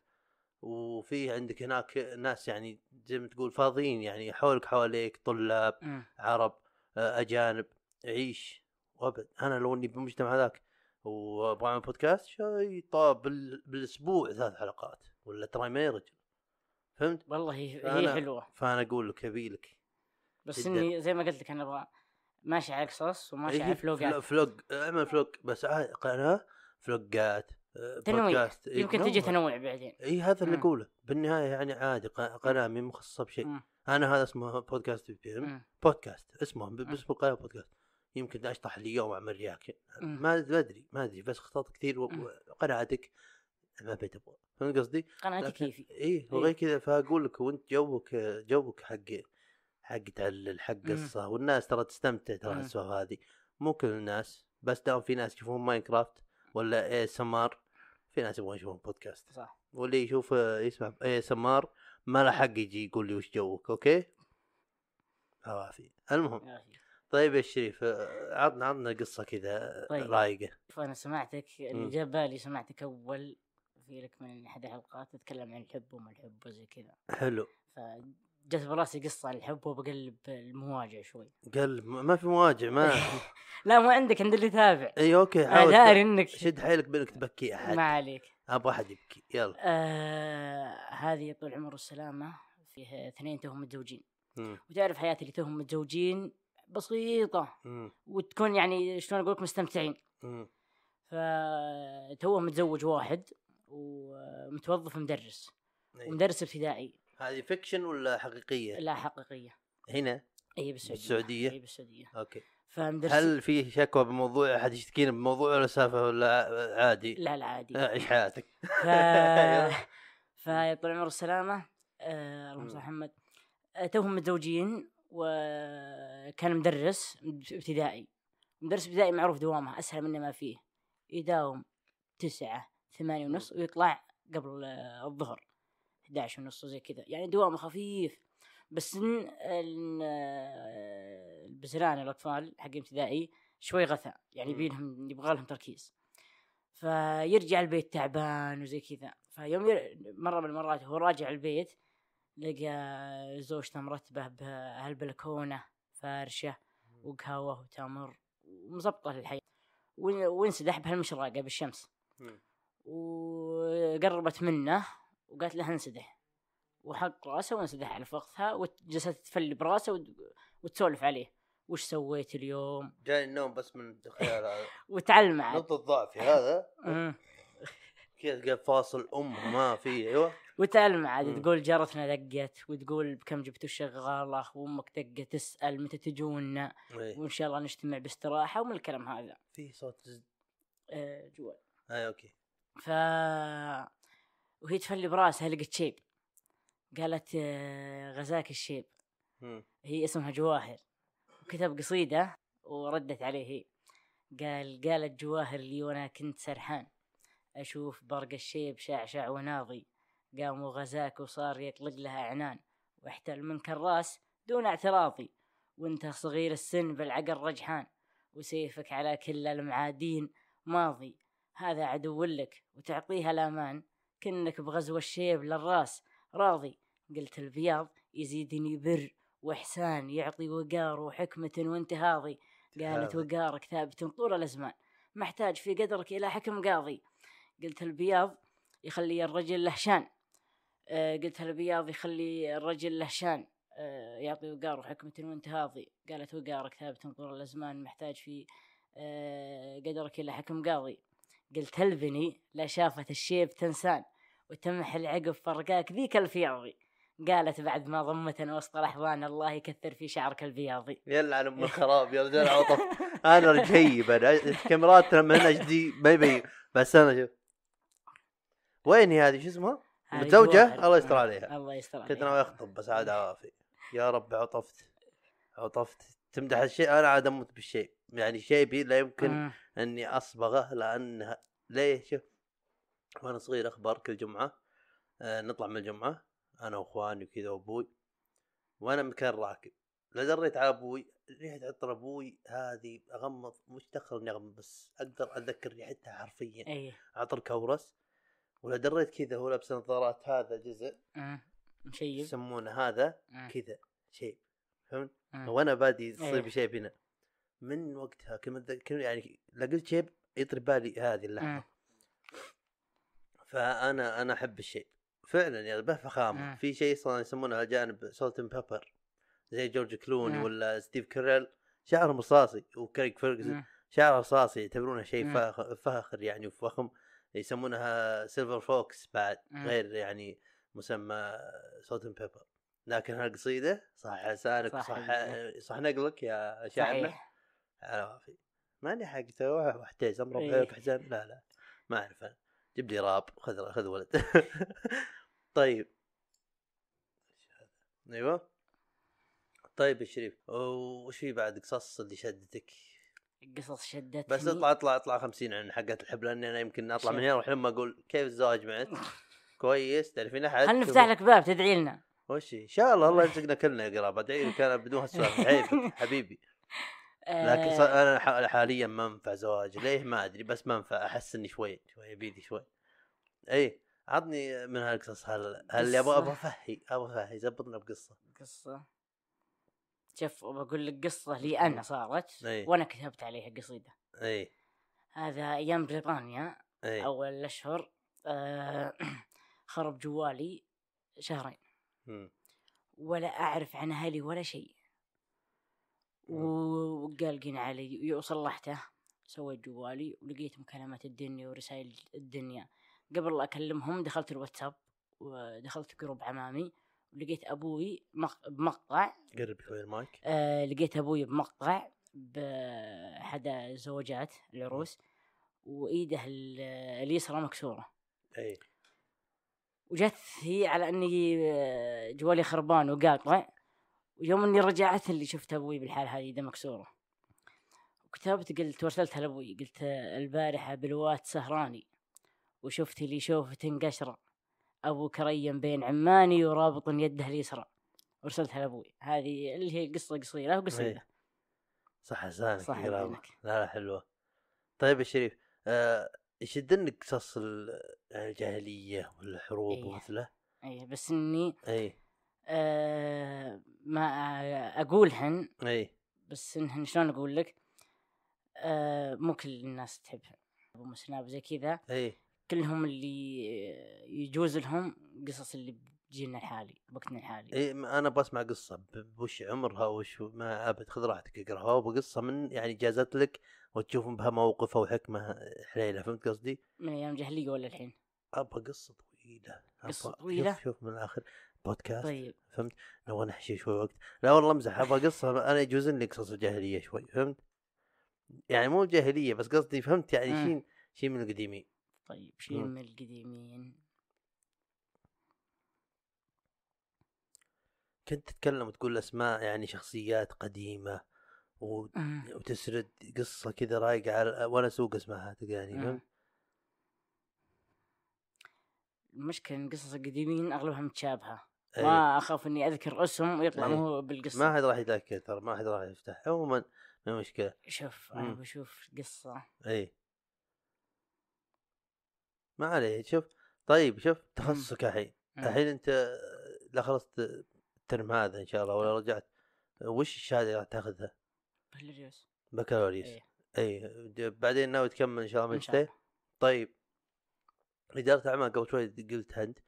Speaker 1: وفي عندك هناك ناس يعني زي ما تقول فاضيين يعني حولك حواليك طلاب
Speaker 2: مم.
Speaker 1: عرب آه، اجانب عيش وابد انا لو اني بالمجتمع ذاك وابغى اعمل بودكاست شيء طاب بال... بالاسبوع ثلاث حلقات ولا ترى ما يرجع فهمت؟
Speaker 2: والله هي
Speaker 1: فأنا-
Speaker 2: هي حلوه
Speaker 1: فانا اقول لك ابي لك
Speaker 2: بس
Speaker 1: جداً.
Speaker 2: اني زي ما قلت لك انا ابغى ماشي على قصص وماشي
Speaker 1: إيه،
Speaker 2: على
Speaker 1: فلو-
Speaker 2: فلوقات
Speaker 1: فلوق اعمل فلوق بس عاد قناه فلوقات آه،
Speaker 2: تنويع
Speaker 1: بودكاست. إيه،
Speaker 2: يمكن تجي
Speaker 1: تنوع.
Speaker 2: تنوع بعدين
Speaker 1: اي هذا اللي
Speaker 2: مم.
Speaker 1: اقوله بالنهايه يعني عادي ق- قناه مي مخصصه بشيء
Speaker 2: مم.
Speaker 1: انا هذا اسمه بودكاست بي بي ام
Speaker 2: مم.
Speaker 1: بودكاست اسمه ب- باسم القناه بودكاست يمكن اشطح لي يوم اعمل رياكشن
Speaker 2: مم.
Speaker 1: ما ما ادري ما ادري بس خطط كثير و-
Speaker 2: مم.
Speaker 1: وقناعتك ما بتبغى فهمت قصدي؟
Speaker 2: قناتي
Speaker 1: لكن-
Speaker 2: كيفي
Speaker 1: اي وغير كذا فاقول لك وانت جوك جوك حق حق تعلل حق
Speaker 2: مم.
Speaker 1: قصه والناس ترى تستمتع ترى
Speaker 2: مم.
Speaker 1: السوالف هذه مو كل الناس بس دام في ناس يشوفون ماينكرافت ولا اي سمار في ناس يبغون يشوفون بودكاست
Speaker 2: صح
Speaker 1: واللي يشوف يسمع اي اس ام ار ما له حق يجي يقول لي وش جوك اوكي؟ عافية المهم
Speaker 2: يا أخي.
Speaker 1: طيب يا شريف آه، عطنا عطنا قصه كذا
Speaker 2: طيب.
Speaker 1: رايقه
Speaker 2: شوف انا سمعتك اللي
Speaker 1: مم.
Speaker 2: جاب بالي سمعتك اول في لك من احد الحلقات تتكلم عن الحب وما الحب وزي كذا
Speaker 1: حلو
Speaker 2: فجت براسي قصه عن الحب وبقلب المواجع شوي
Speaker 1: قال م- ما في مواجع ما
Speaker 2: لا ما عندك عند اللي يتابع
Speaker 1: اي اوكي
Speaker 2: انا
Speaker 1: إيه، حاول
Speaker 2: داري انك
Speaker 1: شد حيلك بانك تبكي
Speaker 2: ما
Speaker 1: احد
Speaker 2: عليك
Speaker 1: ابغى احد يبكي يلا
Speaker 2: آه هذه طول العمر والسلامه فيه اثنين توهم متزوجين
Speaker 1: مم.
Speaker 2: وتعرف حياتي اللي توهم متزوجين بسيطه
Speaker 1: مم.
Speaker 2: وتكون يعني شلون اقول لك مستمتعين
Speaker 1: مم.
Speaker 2: فتوه متزوج واحد ومتوظف مدرس
Speaker 1: إي.
Speaker 2: ومدرس ابتدائي
Speaker 1: هذه فيكشن ولا حقيقيه؟
Speaker 2: لا حقيقيه
Speaker 1: هنا
Speaker 2: اي بالسعوديه
Speaker 1: بالسعودية؟
Speaker 2: اي بالسعوديه
Speaker 1: اوكي
Speaker 2: فمدرس
Speaker 1: هل في شكوى بموضوع احد يشتكينا بموضوع ولا سالفه ولا عادي؟
Speaker 2: لا لا عادي
Speaker 1: آه، عيش حياتك
Speaker 2: ف...
Speaker 1: أيوة.
Speaker 2: فيطول عمره السلامة آه اللهم صل على محمد آه توهم متزوجين وكان مدرس ابتدائي مدرس ابتدائي معروف دوامه أسهل منه ما فيه يداوم تسعة ثمانية ونص ويطلع قبل آه الظهر 11 ونص وزي كذا يعني دوامه خفيف بس إن ال- آه، البزران الأطفال حق ابتدائي شوي غثى يعني
Speaker 1: مم.
Speaker 2: يبيلهم يبغى لهم تركيز فيرجع البيت تعبان وزي كذا فيوم ير- مره من المرات هو راجع البيت لقى زوجته مرتبه بهالبلكونه فارشه وقهوه وتمر ومظبطه الحياه ون- وانسدح بهالمشرقه بالشمس
Speaker 1: مم.
Speaker 2: وقربت منه وقالت له انسدح وحط راسه وانسدح على فخذها وجلست تفل براسه وت- وتسولف عليه وش سويت اليوم
Speaker 1: جاني النوم بس من خيال هذا
Speaker 2: وتعلم عاد
Speaker 1: نقطة ضعفي هذا
Speaker 2: أمم.
Speaker 1: كذا تلقى فاصل أم ما في أيوه
Speaker 2: وتعلم عاد
Speaker 1: مم.
Speaker 2: تقول جارتنا دقت وتقول بكم جبتوا الشغاله وامك دقت تسال متى تجونا
Speaker 1: إيه.
Speaker 2: وان شاء الله نجتمع باستراحه ومن الكلام هذا
Speaker 1: في صوت زد
Speaker 2: آه، جوال
Speaker 1: أي أوكي
Speaker 2: ف وهي تفلي براسها لقت شيب قالت آه، غزاك الشيب
Speaker 1: مم.
Speaker 2: هي اسمها جواهر وكتب قصيده وردت عليه هي قال قالت جواهر لي وانا كنت سرحان اشوف برق الشيب شعشع وناضي قام وغزاك وصار يطلق لها عنان واحتل منك الراس دون اعتراضي وانت صغير السن بالعقل رجحان وسيفك على كل المعادين ماضي هذا عدو لك وتعطيها الامان كنك بغزو الشيب للراس راضي قلت البياض يزيدني بر واحسان يعطي وقار وحكمه وانتهاضي قالت
Speaker 1: هذا.
Speaker 2: وقارك ثابت طول الازمان محتاج في قدرك الى حكم قاضي قلت البياض يخلي الرجل له شان آه، قلت البياض يخلي الرجل له شان آه، يعطي وقار وحكمة وانتهاضي قالت وقارك ثابت طول الأزمان محتاج في آه، قدرك إلى حكم قاضي قلت البني لا شافت الشيب تنسان وتمح العقب فرقاك ذيك الفياضي قالت بعد ما ضمتنا وسط الأحضان الله يكثر في شعرك البياضي
Speaker 1: يلعن ام الخراب يا رجال عطف انا رجيب انا كاميراتنا من اتش دي ما يبين بس انا شوف وين هي هذه شو اسمها؟
Speaker 2: هذه
Speaker 1: متزوجه
Speaker 2: جواهر.
Speaker 1: الله يستر عليها
Speaker 2: الله يستر عليها
Speaker 1: كنت ناوي اخطب بس عاد عوافي يا رب عطفت عطفت تمدح الشيء انا عاد اموت بالشيء يعني شيبي لا يمكن
Speaker 2: مم.
Speaker 1: اني اصبغه لانها ليه شوف وانا صغير اخبار كل جمعه آه نطلع من الجمعه انا واخواني وكذا وابوي وانا مكان راكب لا دريت على ابوي ريحه عطر ابوي هذه اغمض مش دخل اني اغمض بس اقدر اتذكر ريحتها حرفيا
Speaker 2: اي
Speaker 1: عطر كورس ولا دريت كذا هو لابس نظارات هذا جزء
Speaker 2: مم. آه. مشيب آه.
Speaker 1: يسمونه هذا
Speaker 2: مم.
Speaker 1: كذا شيء فهمت؟
Speaker 2: مم.
Speaker 1: وانا بادي
Speaker 2: إيه.
Speaker 1: تصير بشيب هنا من وقتها كم أتذكر- يعني لا قلت شيب يطري بالي هذه اللحظه
Speaker 2: مم.
Speaker 1: فانا انا احب الشيء فعلا يعني به فخامه
Speaker 2: مم.
Speaker 1: في شيء صار يسمونه الجانب سولت بيبر زي جورج كلوني
Speaker 2: مم.
Speaker 1: ولا ستيف كريل شعر رصاصي وكريك فيرجسون
Speaker 2: مم.
Speaker 1: شعر رصاصي يعتبرونه شيء
Speaker 2: مم.
Speaker 1: فاخ- فاخر يعني وفخم يسمونها سيلفر فوكس بعد
Speaker 2: مم.
Speaker 1: غير يعني مسمى سولت بيبر لكن هالقصيده صح لسانك
Speaker 2: صح.
Speaker 1: صح صح نقلك يا شاعرنا
Speaker 2: صحيح
Speaker 1: على وافي ماني حق توه محتاج امر
Speaker 2: إيه.
Speaker 1: بحيك حزام لا لا ما اعرف انا جيب لي راب خذ خذ ولد طيب ايوه طيب يا شريف وش في بعد قصص اللي شدتك؟
Speaker 2: قصص شدتني
Speaker 1: بس اطلع اطلع اطلع 50 عن حقات الحب لاني انا يمكن اطلع من هنا واروح لما اقول كيف الزواج معك؟ كويس تعرفين احد؟
Speaker 2: خلينا نفتح لك باب تدعي لنا
Speaker 1: وش هي؟ ان شاء الله الله يرزقنا كلنا قرابه ادعي لك انا بدون هالسؤال عيب حبيبي لكن
Speaker 2: آه،
Speaker 1: صار انا ح- حاليا ما انفع زواج ليه ما ادري بس ما انفع احس اني شوي شوي يبيدي شوي اي عطني من هالقصص هل هل اللي ابغى
Speaker 2: قصة.
Speaker 1: ابغى افهي ابغى افهي زبطنا بقصه
Speaker 2: قصة شوف بقول لك قصة لي أنا صارت
Speaker 1: إيه.
Speaker 2: وأنا كتبت عليها قصيدة
Speaker 1: اي
Speaker 2: هذا أيام بريطانيا
Speaker 1: اي
Speaker 2: أول الأشهر آه، خرب جوالي شهرين
Speaker 1: مم.
Speaker 2: ولا أعرف عن أهلي ولا شيء و- وقلقين علي وصلحته سويت جوالي ولقيت مكالمات الدنيا ورسائل الدنيا قبل لا أكلمهم دخلت الواتساب ودخلت جروب عمامي ولقيت أبوي مق- بمقطع
Speaker 1: قرب شوي المايك
Speaker 2: آه لقيت ابوي بمقطع بحد الزوجات العروس وايده ال- اليسرى مكسوره
Speaker 1: اي
Speaker 2: وجت هي على اني آه، جوالي خربان وقاطع ويوم اني رجعت اللي شفت ابوي بالحال هذه ايده مكسوره وكتبت قلت وارسلتها لابوي قلت آه، البارحه بالوات سهراني وشفت لي شوفة قشرة ابو كريم بين عماني ورابط يده اليسرى وارسلتها لابوي هذه اللي هي قصه قصيره وقصيده
Speaker 1: صح لسانك
Speaker 2: صح
Speaker 1: قرابة.
Speaker 2: لسانك.
Speaker 1: لا لا حلوه طيب يا شريف آه يشدني قصص ال- الجاهليه والحروب
Speaker 2: إيه.
Speaker 1: ومثله إيه،
Speaker 2: اي بس اني
Speaker 1: اي
Speaker 2: آه ما اقولهن
Speaker 1: اي
Speaker 2: بس انهن شلون اقول لك آه مو كل الناس تحبهن ابو مسناب زي كذا
Speaker 1: اي
Speaker 2: كلهم اللي آه، يجوز لهم قصص اللي بجيلنا الحالي بوقتنا الحالي
Speaker 1: اي ما انا بسمع قصه ب- بوش عمرها وش ما ابد خذ راحتك اقراها وبقصه من يعني جازت لك وتشوف بها موقفها وحكمه حليله فهمت قصدي؟
Speaker 2: من ايام الجاهليه ولا الحين
Speaker 1: ابغى قصه طويله أبغى-
Speaker 2: قصة طويلة؟
Speaker 1: شوف, شوف من الاخر بودكاست
Speaker 2: طيب
Speaker 1: نبغى نحشي شوي وقت لا والله امزح ابغى قصه انا يجوزن لي قصص الجاهليه شوي فهمت؟ يعني مو جاهليه بس قصدي فهمت يعني
Speaker 2: مم.
Speaker 1: شيء شيء من القديمين
Speaker 2: طيب شيء
Speaker 1: مم.
Speaker 2: من القديمين
Speaker 1: كنت تتكلم وتقول اسماء يعني شخصيات قديمه و...
Speaker 2: مم.
Speaker 1: وتسرد قصه كذا رايقه على وانا اسوق اسمعها يعني
Speaker 2: مم.
Speaker 1: فهمت؟
Speaker 2: المشكله ان قصص القديمين اغلبها متشابهه
Speaker 1: إيه.
Speaker 2: ما اخاف اني اذكر اسم ويطلع
Speaker 1: إيه.
Speaker 2: مو هو بالقصه
Speaker 1: ما حد راح يتذكر ترى ما حد راح يفتح عموما ما مشكله
Speaker 2: شوف انا
Speaker 1: مم.
Speaker 2: بشوف قصه
Speaker 1: اي ما عليه شوف طيب شوف تخصصك الحين
Speaker 2: مم.
Speaker 1: الحين انت لا خلصت الترم هذا ان شاء الله
Speaker 2: إيه.
Speaker 1: ولا رجعت وش الشهاده اللي راح تاخذها؟
Speaker 2: بهالريوس.
Speaker 1: بكالوريوس
Speaker 2: إيه.
Speaker 1: اي بعدين ناوي تكمل ان شاء الله
Speaker 2: إن شاء الله.
Speaker 1: ماجستير طيب اداره اعمال قبل شوي قلت انت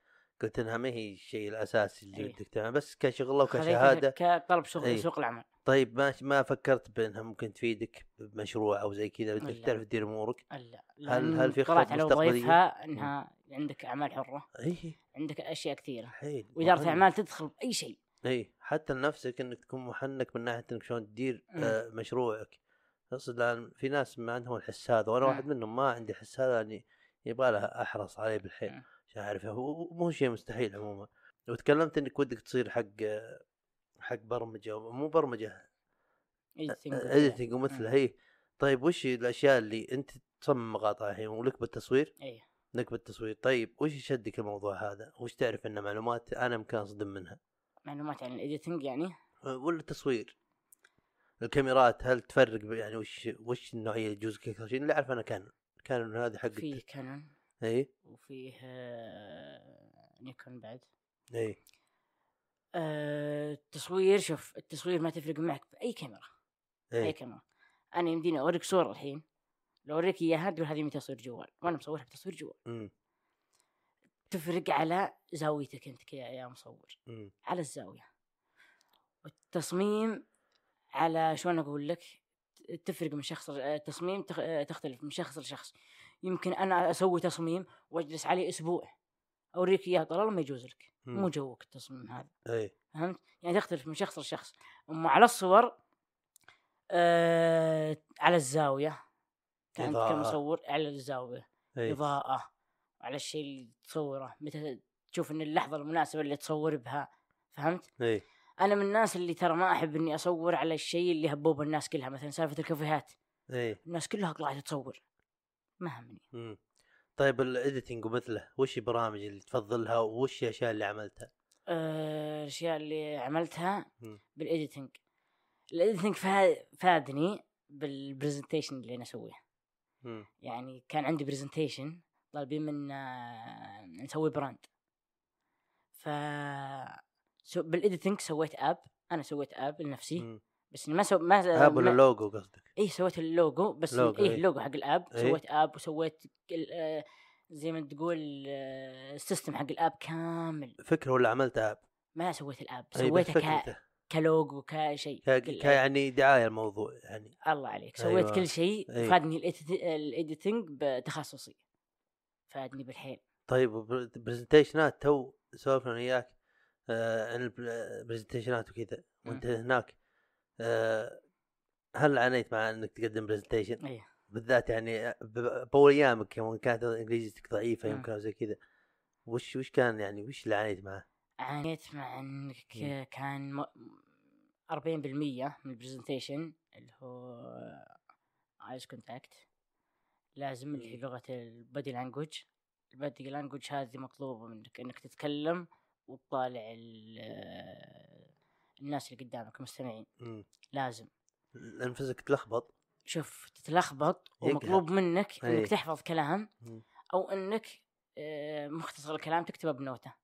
Speaker 1: قلت انها ما هي الشيء الاساسي اللي
Speaker 2: إيه.
Speaker 1: بدك تعمله بس كشغله
Speaker 2: خليتها
Speaker 1: وكشهاده
Speaker 2: كطلب شغل
Speaker 1: إيه.
Speaker 2: سوق العمل
Speaker 1: طيب ما ما فكرت بانها ممكن تفيدك بمشروع او زي كذا بدك
Speaker 2: لا.
Speaker 1: تعرف تدير امورك
Speaker 2: الا
Speaker 1: هل- هل في
Speaker 2: طلعت
Speaker 1: خطط
Speaker 2: على
Speaker 1: مستقبلية؟
Speaker 2: وظائفها انها عندك اعمال حره
Speaker 1: اي
Speaker 2: عندك اشياء كثيره
Speaker 1: إيه، حيل
Speaker 2: واداره
Speaker 1: مهم.
Speaker 2: الاعمال تدخل باي شيء
Speaker 1: اي حتى لنفسك انك تكون محنك من ناحيه انك شلون تدير
Speaker 2: مم.
Speaker 1: آه مشروعك اقصد لان في ناس ما عندهم الحس هذا وانا
Speaker 2: مم.
Speaker 1: واحد منهم ما عندي الحس هذا يعني يبغى له احرص عليه بالحيل
Speaker 2: مم.
Speaker 1: عشان اعرفه مو شيء مستحيل عموما وتكلمت انك ودك تصير حق آه، حق برمجه مو برمجه
Speaker 2: Editing وكذا.
Speaker 1: اديتنج ومثله هي طيب وش الاشياء اللي انت تصمم مقاطع الحين ولك بالتصوير؟
Speaker 2: ايه
Speaker 1: لك بالتصوير طيب وش يشدك الموضوع هذا وش تعرف انه معلومات انا ممكن اصدم منها
Speaker 2: معلومات عن الايديتنج يعني
Speaker 1: أه، ولا التصوير الكاميرات هل تفرق ب- يعني وش وش النوعيه اللي يجوزك اكثر شيء اللي اعرف انا كان كان هذه حق إيه؟
Speaker 2: فيه كانون
Speaker 1: اي
Speaker 2: وفيه آه، نيكون بعد
Speaker 1: اي
Speaker 2: آه، التصوير شوف التصوير ما تفرق معك باي كاميرا اي
Speaker 1: اي
Speaker 2: كاميرا انا يمديني اوريك صور الحين لو اوريك اياها تقول هذه من تصوير جوال وانا مصورها بتصوير جوال
Speaker 1: أمم،
Speaker 2: تفرق على زاويتك انت كيا يا مصور
Speaker 1: أمم.
Speaker 2: على الزاويه والتصميم على شلون اقول لك تفرق من شخص التصميم تخ- آه، تختلف من شخص لشخص يمكن انا اسوي تصميم واجلس عليه اسبوع اوريك اياه طلال ما يجوز لك
Speaker 1: مم. إيه.
Speaker 2: مو جوك التصميم هذا
Speaker 1: اي
Speaker 2: فهمت يعني تختلف من شخص لشخص اما على الصور آه على يعني الزاويه كانت
Speaker 1: إضاءة. إيه.
Speaker 2: كمصور على الزاويه
Speaker 1: اي
Speaker 2: إضاءة على الشيء اللي تصوره متى تشوف ان اللحظة المناسبة اللي تصور بها فهمت؟
Speaker 1: اي
Speaker 2: انا من الناس اللي ترى ما احب اني اصور على الشيء اللي هبوب الناس كلها مثلا سالفة الكافيهات
Speaker 1: اي
Speaker 2: الناس كلها طلعت تصور ما همني
Speaker 1: أمم. طيب الايديتنج ومثله وش البرامج اللي تفضلها وش الاشياء اللي عملتها
Speaker 2: أه، الاشياء اللي عملتها
Speaker 1: مم.
Speaker 2: بالايديتنج الايديتنج فا- فادني بالبرزنتيشن اللي انا اسويه
Speaker 1: أمم.
Speaker 2: يعني كان عندي برزنتيشن طالبين منا نسوي براند ف سو بالاديتنج سويت اب انا سويت اب لنفسي
Speaker 1: أمم.
Speaker 2: بس إني ما سو... ما
Speaker 1: هاب ولا
Speaker 2: ما...
Speaker 1: لوجو قصدك
Speaker 2: اي إيه، سويت اللوجو بس
Speaker 1: لوجو،
Speaker 2: لوجو ايه
Speaker 1: إيه.
Speaker 2: اللوجو حق الاب
Speaker 1: إيه.
Speaker 2: سويت اب وسويت ال- آه، زي ما تقول آه، السيستم حق الاب كامل
Speaker 1: فكره ولا عملت اب
Speaker 2: ما سويت الاب
Speaker 1: إي، إيه، بس
Speaker 2: سويته ك...
Speaker 1: فكرته.
Speaker 2: كلوجو كشيء
Speaker 1: ك...
Speaker 2: كل-
Speaker 1: ك... يعني دعايه الموضوع يعني
Speaker 2: الله عليك سويت
Speaker 1: أيوة.
Speaker 2: كل شيء
Speaker 1: أي.
Speaker 2: فادني الإيديت- الايديتنج بتخصصي فادني بالحيل
Speaker 1: طيب وبر- برزنتيشنات تو سولفنا أنا وياك آه عن الب- البرزنتيشنات وكذا وانت هناك آه هل عانيت مع انك تقدم برزنتيشن
Speaker 2: ايه
Speaker 1: بالذات يعني ب- باول ايامك يوم كانت انجليزيتك ضعيفه
Speaker 2: مم.
Speaker 1: يمكن او زي كذا وش وش كان يعني وش اللي عانيت معه؟
Speaker 2: عانيت مع انك
Speaker 1: مم.
Speaker 2: كان م... 40% من البرزنتيشن اللي هو ايز كونتاكت لازم اللي هي لغه البادي لانجوج البادي لانجوج هذه مطلوبه منك انك تتكلم وتطالع ال- الناس اللي قدامك المستمعين
Speaker 1: مم.
Speaker 2: لازم
Speaker 1: انفسك تلخبط
Speaker 2: شوف تتلخبط ومطلوب منك
Speaker 1: أي.
Speaker 2: انك تحفظ كلام
Speaker 1: مم.
Speaker 2: او انك آه، مختصر الكلام تكتبه بنوته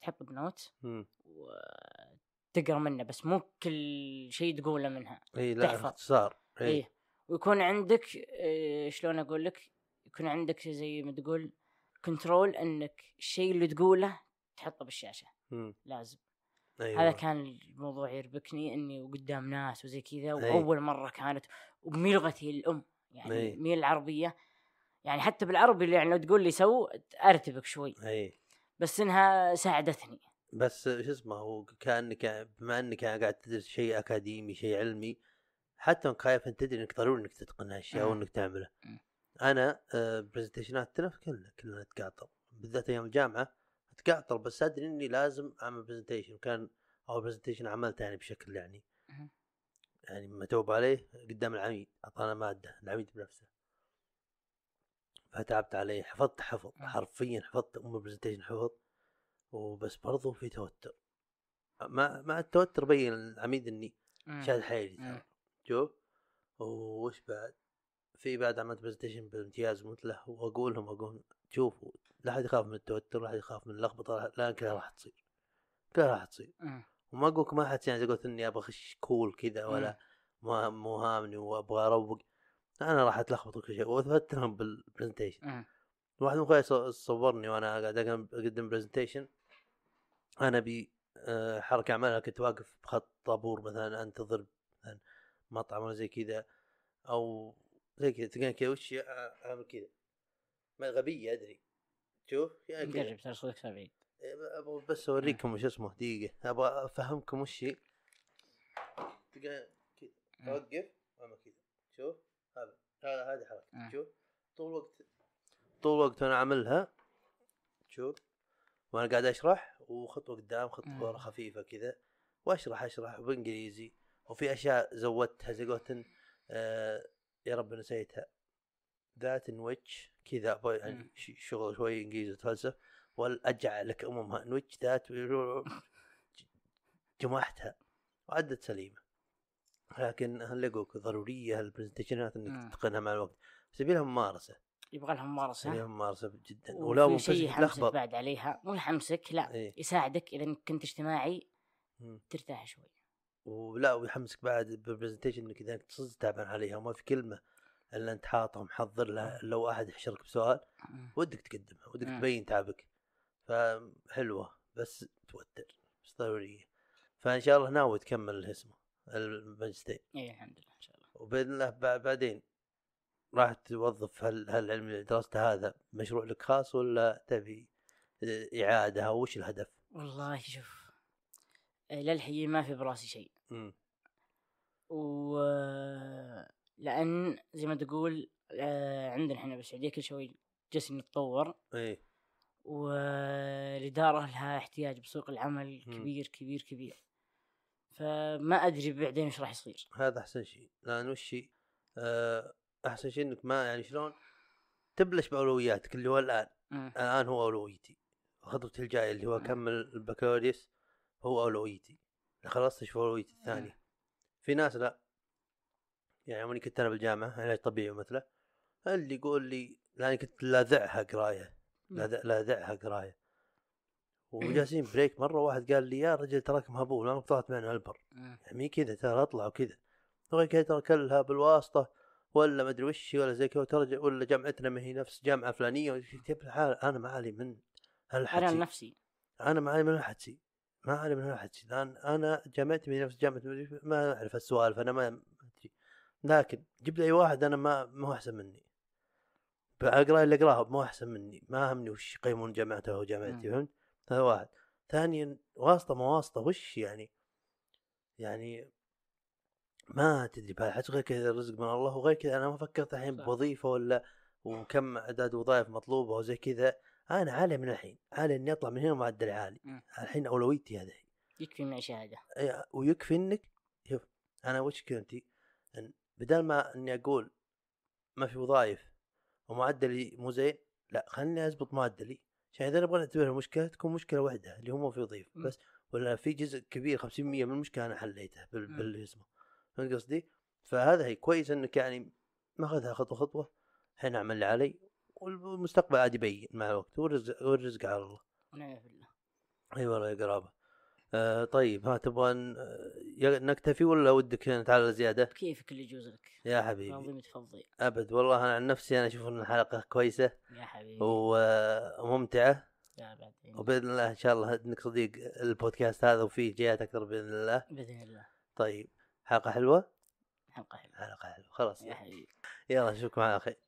Speaker 2: تحط بنوت
Speaker 1: مم.
Speaker 2: وتقرا منه بس مو كل شيء تقوله منها
Speaker 1: اي إيه، لا إيه.
Speaker 2: تحفظ.
Speaker 1: اختصار اي
Speaker 2: ايه ويكون عندك آه، شلون اقول لك يكون عندك زي ما تقول كنترول انك الشيء اللي تقوله تحطه بالشاشه
Speaker 1: مم.
Speaker 2: لازم
Speaker 1: ايوه
Speaker 2: هذا كان الموضوع يربكني اني وقدام ناس وزي كذا
Speaker 1: أي.
Speaker 2: واول مره كانت وبملغتي الام يعني
Speaker 1: أي.
Speaker 2: مي العربيه يعني حتى بالعربي اللي يعني لو تقول لي سو ارتبك شوي
Speaker 1: اي
Speaker 2: بس انها ساعدتني
Speaker 1: بس شو اسمه هو كانك بما انك قاعد تدرس شيء اكاديمي شيء علمي حتى وانك خايف انت تدري انك ضروري انك تتقن هالشيء او
Speaker 2: مم.
Speaker 1: انك تعمله
Speaker 2: مم.
Speaker 1: انا آه، برزنتيشناتنا كلنا كلنا نتقاطر بالذات ايام الجامعه اتقاطر بس ادري اني لازم اعمل برزنتيشن كان اول برزنتيشن عملته يعني بشكل يعني
Speaker 2: مم.
Speaker 1: يعني متوب عليه قدام العميد اعطانا ماده العميد بنفسه فتعبت عليه حفظت حفظ
Speaker 2: مم.
Speaker 1: حرفيا حفظت ام البرزنتيشن حفظ وبس برضو في توتر مع مع التوتر بين العميد اني
Speaker 2: مم.
Speaker 1: شاد حيلي ترى.
Speaker 2: مم.
Speaker 1: شوف وش بعد في بعد عملت برزنتيشن بامتياز مثله واقول لهم اقول شوفوا لا احد يخاف من التوتر لا احد يخاف من اللخبطه لا- لا كلها راح تصير كلها راح تصير
Speaker 2: مم.
Speaker 1: وما اقولك ما حد يعني قلت اني ابغى اخش كول كذا ولا
Speaker 2: إيه.
Speaker 1: ما مو هامني وابغى اروق انا راح اتلخبط وكل شيء واثبت لهم بالبرزنتيشن
Speaker 2: مم.
Speaker 1: واحد من اخوياي ص- صورني وانا قاعد أقدم- اقدم برزنتيشن انا بي آه، حركه اعملها كنت واقف بخط طابور مثلا انتظر مثلا مطعم ولا زي كذا او زي كذا تلقاني كذا وش آه، اعمل كذا ما غبيه ادري شوف يعني كذا
Speaker 2: نقرب ترى صوتك صار بعيد
Speaker 1: إيه، ابغى بس اوريكم شو اسمه دقيقه ابغى افهمكم وش هي تلقى كذا
Speaker 2: مم.
Speaker 1: اوقف واعمل كذا شوف هذا هذا هذه
Speaker 2: مم.
Speaker 1: حركتي شوف طول الوقت طول الوقت وانا عاملها شوف وانا قاعد اشرح وخطوه قدام خطوه
Speaker 2: مم.
Speaker 1: ورا خفيفه كذا واشرح اشرح وبانجليزي وفي اشياء زودتها زي قولت آه يا رب نسيتها ذات ويتش كذا أبغى يعني
Speaker 2: مم.
Speaker 1: ش- شغل شوي انجليزي وتفلسف أمم. والأجع لك أمها نوج ذات جمعتها وعدت سليمة لكن هاللقوك ضرورية هالبرزنتيشنات
Speaker 2: مم.
Speaker 1: انك تتقنها مع الوقت بس يبي لها ممارسة
Speaker 2: يبغى لها
Speaker 1: يبي لها
Speaker 2: ممارسه
Speaker 1: ممارسة جدا ولو
Speaker 2: وفي
Speaker 1: منفسد
Speaker 2: شيء يحمسك
Speaker 1: تلخبط
Speaker 2: بعد عليها مو يحمسك لا
Speaker 1: إيه.
Speaker 2: يساعدك اذا كنت اجتماعي
Speaker 1: مم.
Speaker 2: ترتاح شوي
Speaker 1: ولا ويحمسك بعد بالبرزنتيشن انك اذا كنت صدق تعبان عليها وما في كلمة الا انت حاطها محضر لها لو احد يحشرك بسؤال
Speaker 2: مم.
Speaker 1: ودك تقدمها ودك
Speaker 2: مم.
Speaker 1: تبين تعبك فحلوه بس توتر بس ضروريه فان شاء الله ناوي تكمل اسمه الماجستير
Speaker 2: ايه الحمد لله ان شاء الله
Speaker 1: وباذن الله بع- بعدين راح توظف هال- هالعلم اللي درسته هذا مشروع لك خاص ولا تبي إيه، اعاده او وش الهدف؟
Speaker 2: والله شوف آه، للحين ما في براسي شيء
Speaker 1: مم.
Speaker 2: و لان زي ما تقول آه، عندنا احنا بالسعوديه كل شوي جالسين نتطور
Speaker 1: ايه
Speaker 2: والاداره لها احتياج بسوق العمل
Speaker 1: مم.
Speaker 2: كبير كبير كبير فما ادري بعدين ايش راح يصير
Speaker 1: هذا احسن شيء لان وش هي؟ آه، احسن شيء انك ما يعني شلون تبلش باولوياتك اللي هو الان
Speaker 2: مم.
Speaker 1: الان هو اولويتي خطوتي الجايه اللي هو اكمل البكالوريوس هو اولويتي إذا خلصت اشوف اولويتي الثانيه في ناس لا يعني يوم إني كنت انا بالجامعه علاج طبيعي مثله اللي يقول لي لاني كنت لاذعها قرايه
Speaker 2: مم.
Speaker 1: لاذع- لاذعها قرايه وجالسين بريك مره واحد قال لي يا رجل تراك مهبول انا طلعت معنا البر
Speaker 2: مم.
Speaker 1: يعني مي كذا ترى اطلع وكذا وغير كذا ترى كلها بالواسطه ولا ما ادري وش ولا زي كذا ترى ولا جامعتنا ما هي نفس جامعه فلانيه جيب الحال انا معالي من
Speaker 2: انا
Speaker 1: هالحكي
Speaker 2: لنفسي
Speaker 1: انا معالي من هالحكي ما علي من هالحكي لان انا جامعتي ما هي نفس جامعه مدري شو، ما اعرف السوالف انا ما ما ادري لكن جيب لي اي واحد انا ما ما هو احسن مني بقرا اللي اقراه ما هو احسن مني ما همني وش يقيمون جامعته او جامعتي
Speaker 2: مم.
Speaker 1: فهمت هذا واحد ثانيا واسطه ما واسطه وش يعني يعني ما تدري بهالحكي غير كذا الرزق من الله وغير كذا انا ما فكرت الحين
Speaker 2: صح.
Speaker 1: بوظيفه ولا وكم اعداد وظائف مطلوبه وزي كذا انا عالي من الحين عالي اني اطلع من هنا معدل عالي
Speaker 2: مم.
Speaker 1: الحين اولويتي هذه
Speaker 2: يكفي معي شهاده
Speaker 1: إيه، ويكفي انك شوف انا وش كنت إن بدل ما اني اقول ما في وظائف ومعدلي مو زين لا خلني اضبط معدلي عشان اذا نبغى نعتبرها مشكله تكون مشكله واحده اللي هو ما في وظيفه
Speaker 2: مم.
Speaker 1: بس ولا في جزء كبير 50% من المشكله انا حليته بال
Speaker 2: مم.
Speaker 1: بالاسم فهمت قصدي؟ فهذا هي كويس انك يعني ماخذها خطوه خطوه الحين اعمل اللي علي والمستقبل عاد يبين مع الوقت والرزق والرزق على الله
Speaker 2: ونعم بالله
Speaker 1: اي والله يا قرابه أيوة، آه طيب ها تبغى ن- آه، نكتفي ولا ودك نتعلى زياده؟
Speaker 2: بكيفك اللي يجوز لك
Speaker 1: يا
Speaker 2: تفضي
Speaker 1: حبيبي
Speaker 2: تفضي
Speaker 1: ابد والله انا عن نفسي انا اشوف ان الحلقه كويسه
Speaker 2: يا حبيبي
Speaker 1: و- وممتعه
Speaker 2: لا بعدين
Speaker 1: وباذن الله ان شاء الله انك صديق البودكاست هذا وفيه جهات اكثر باذن الله
Speaker 2: باذن الله
Speaker 1: طيب حلقه حلوه
Speaker 2: حلقه حلوه
Speaker 1: حلقه حلوه خلاص
Speaker 2: يا حبيبي
Speaker 1: يلا نشوفكم على خير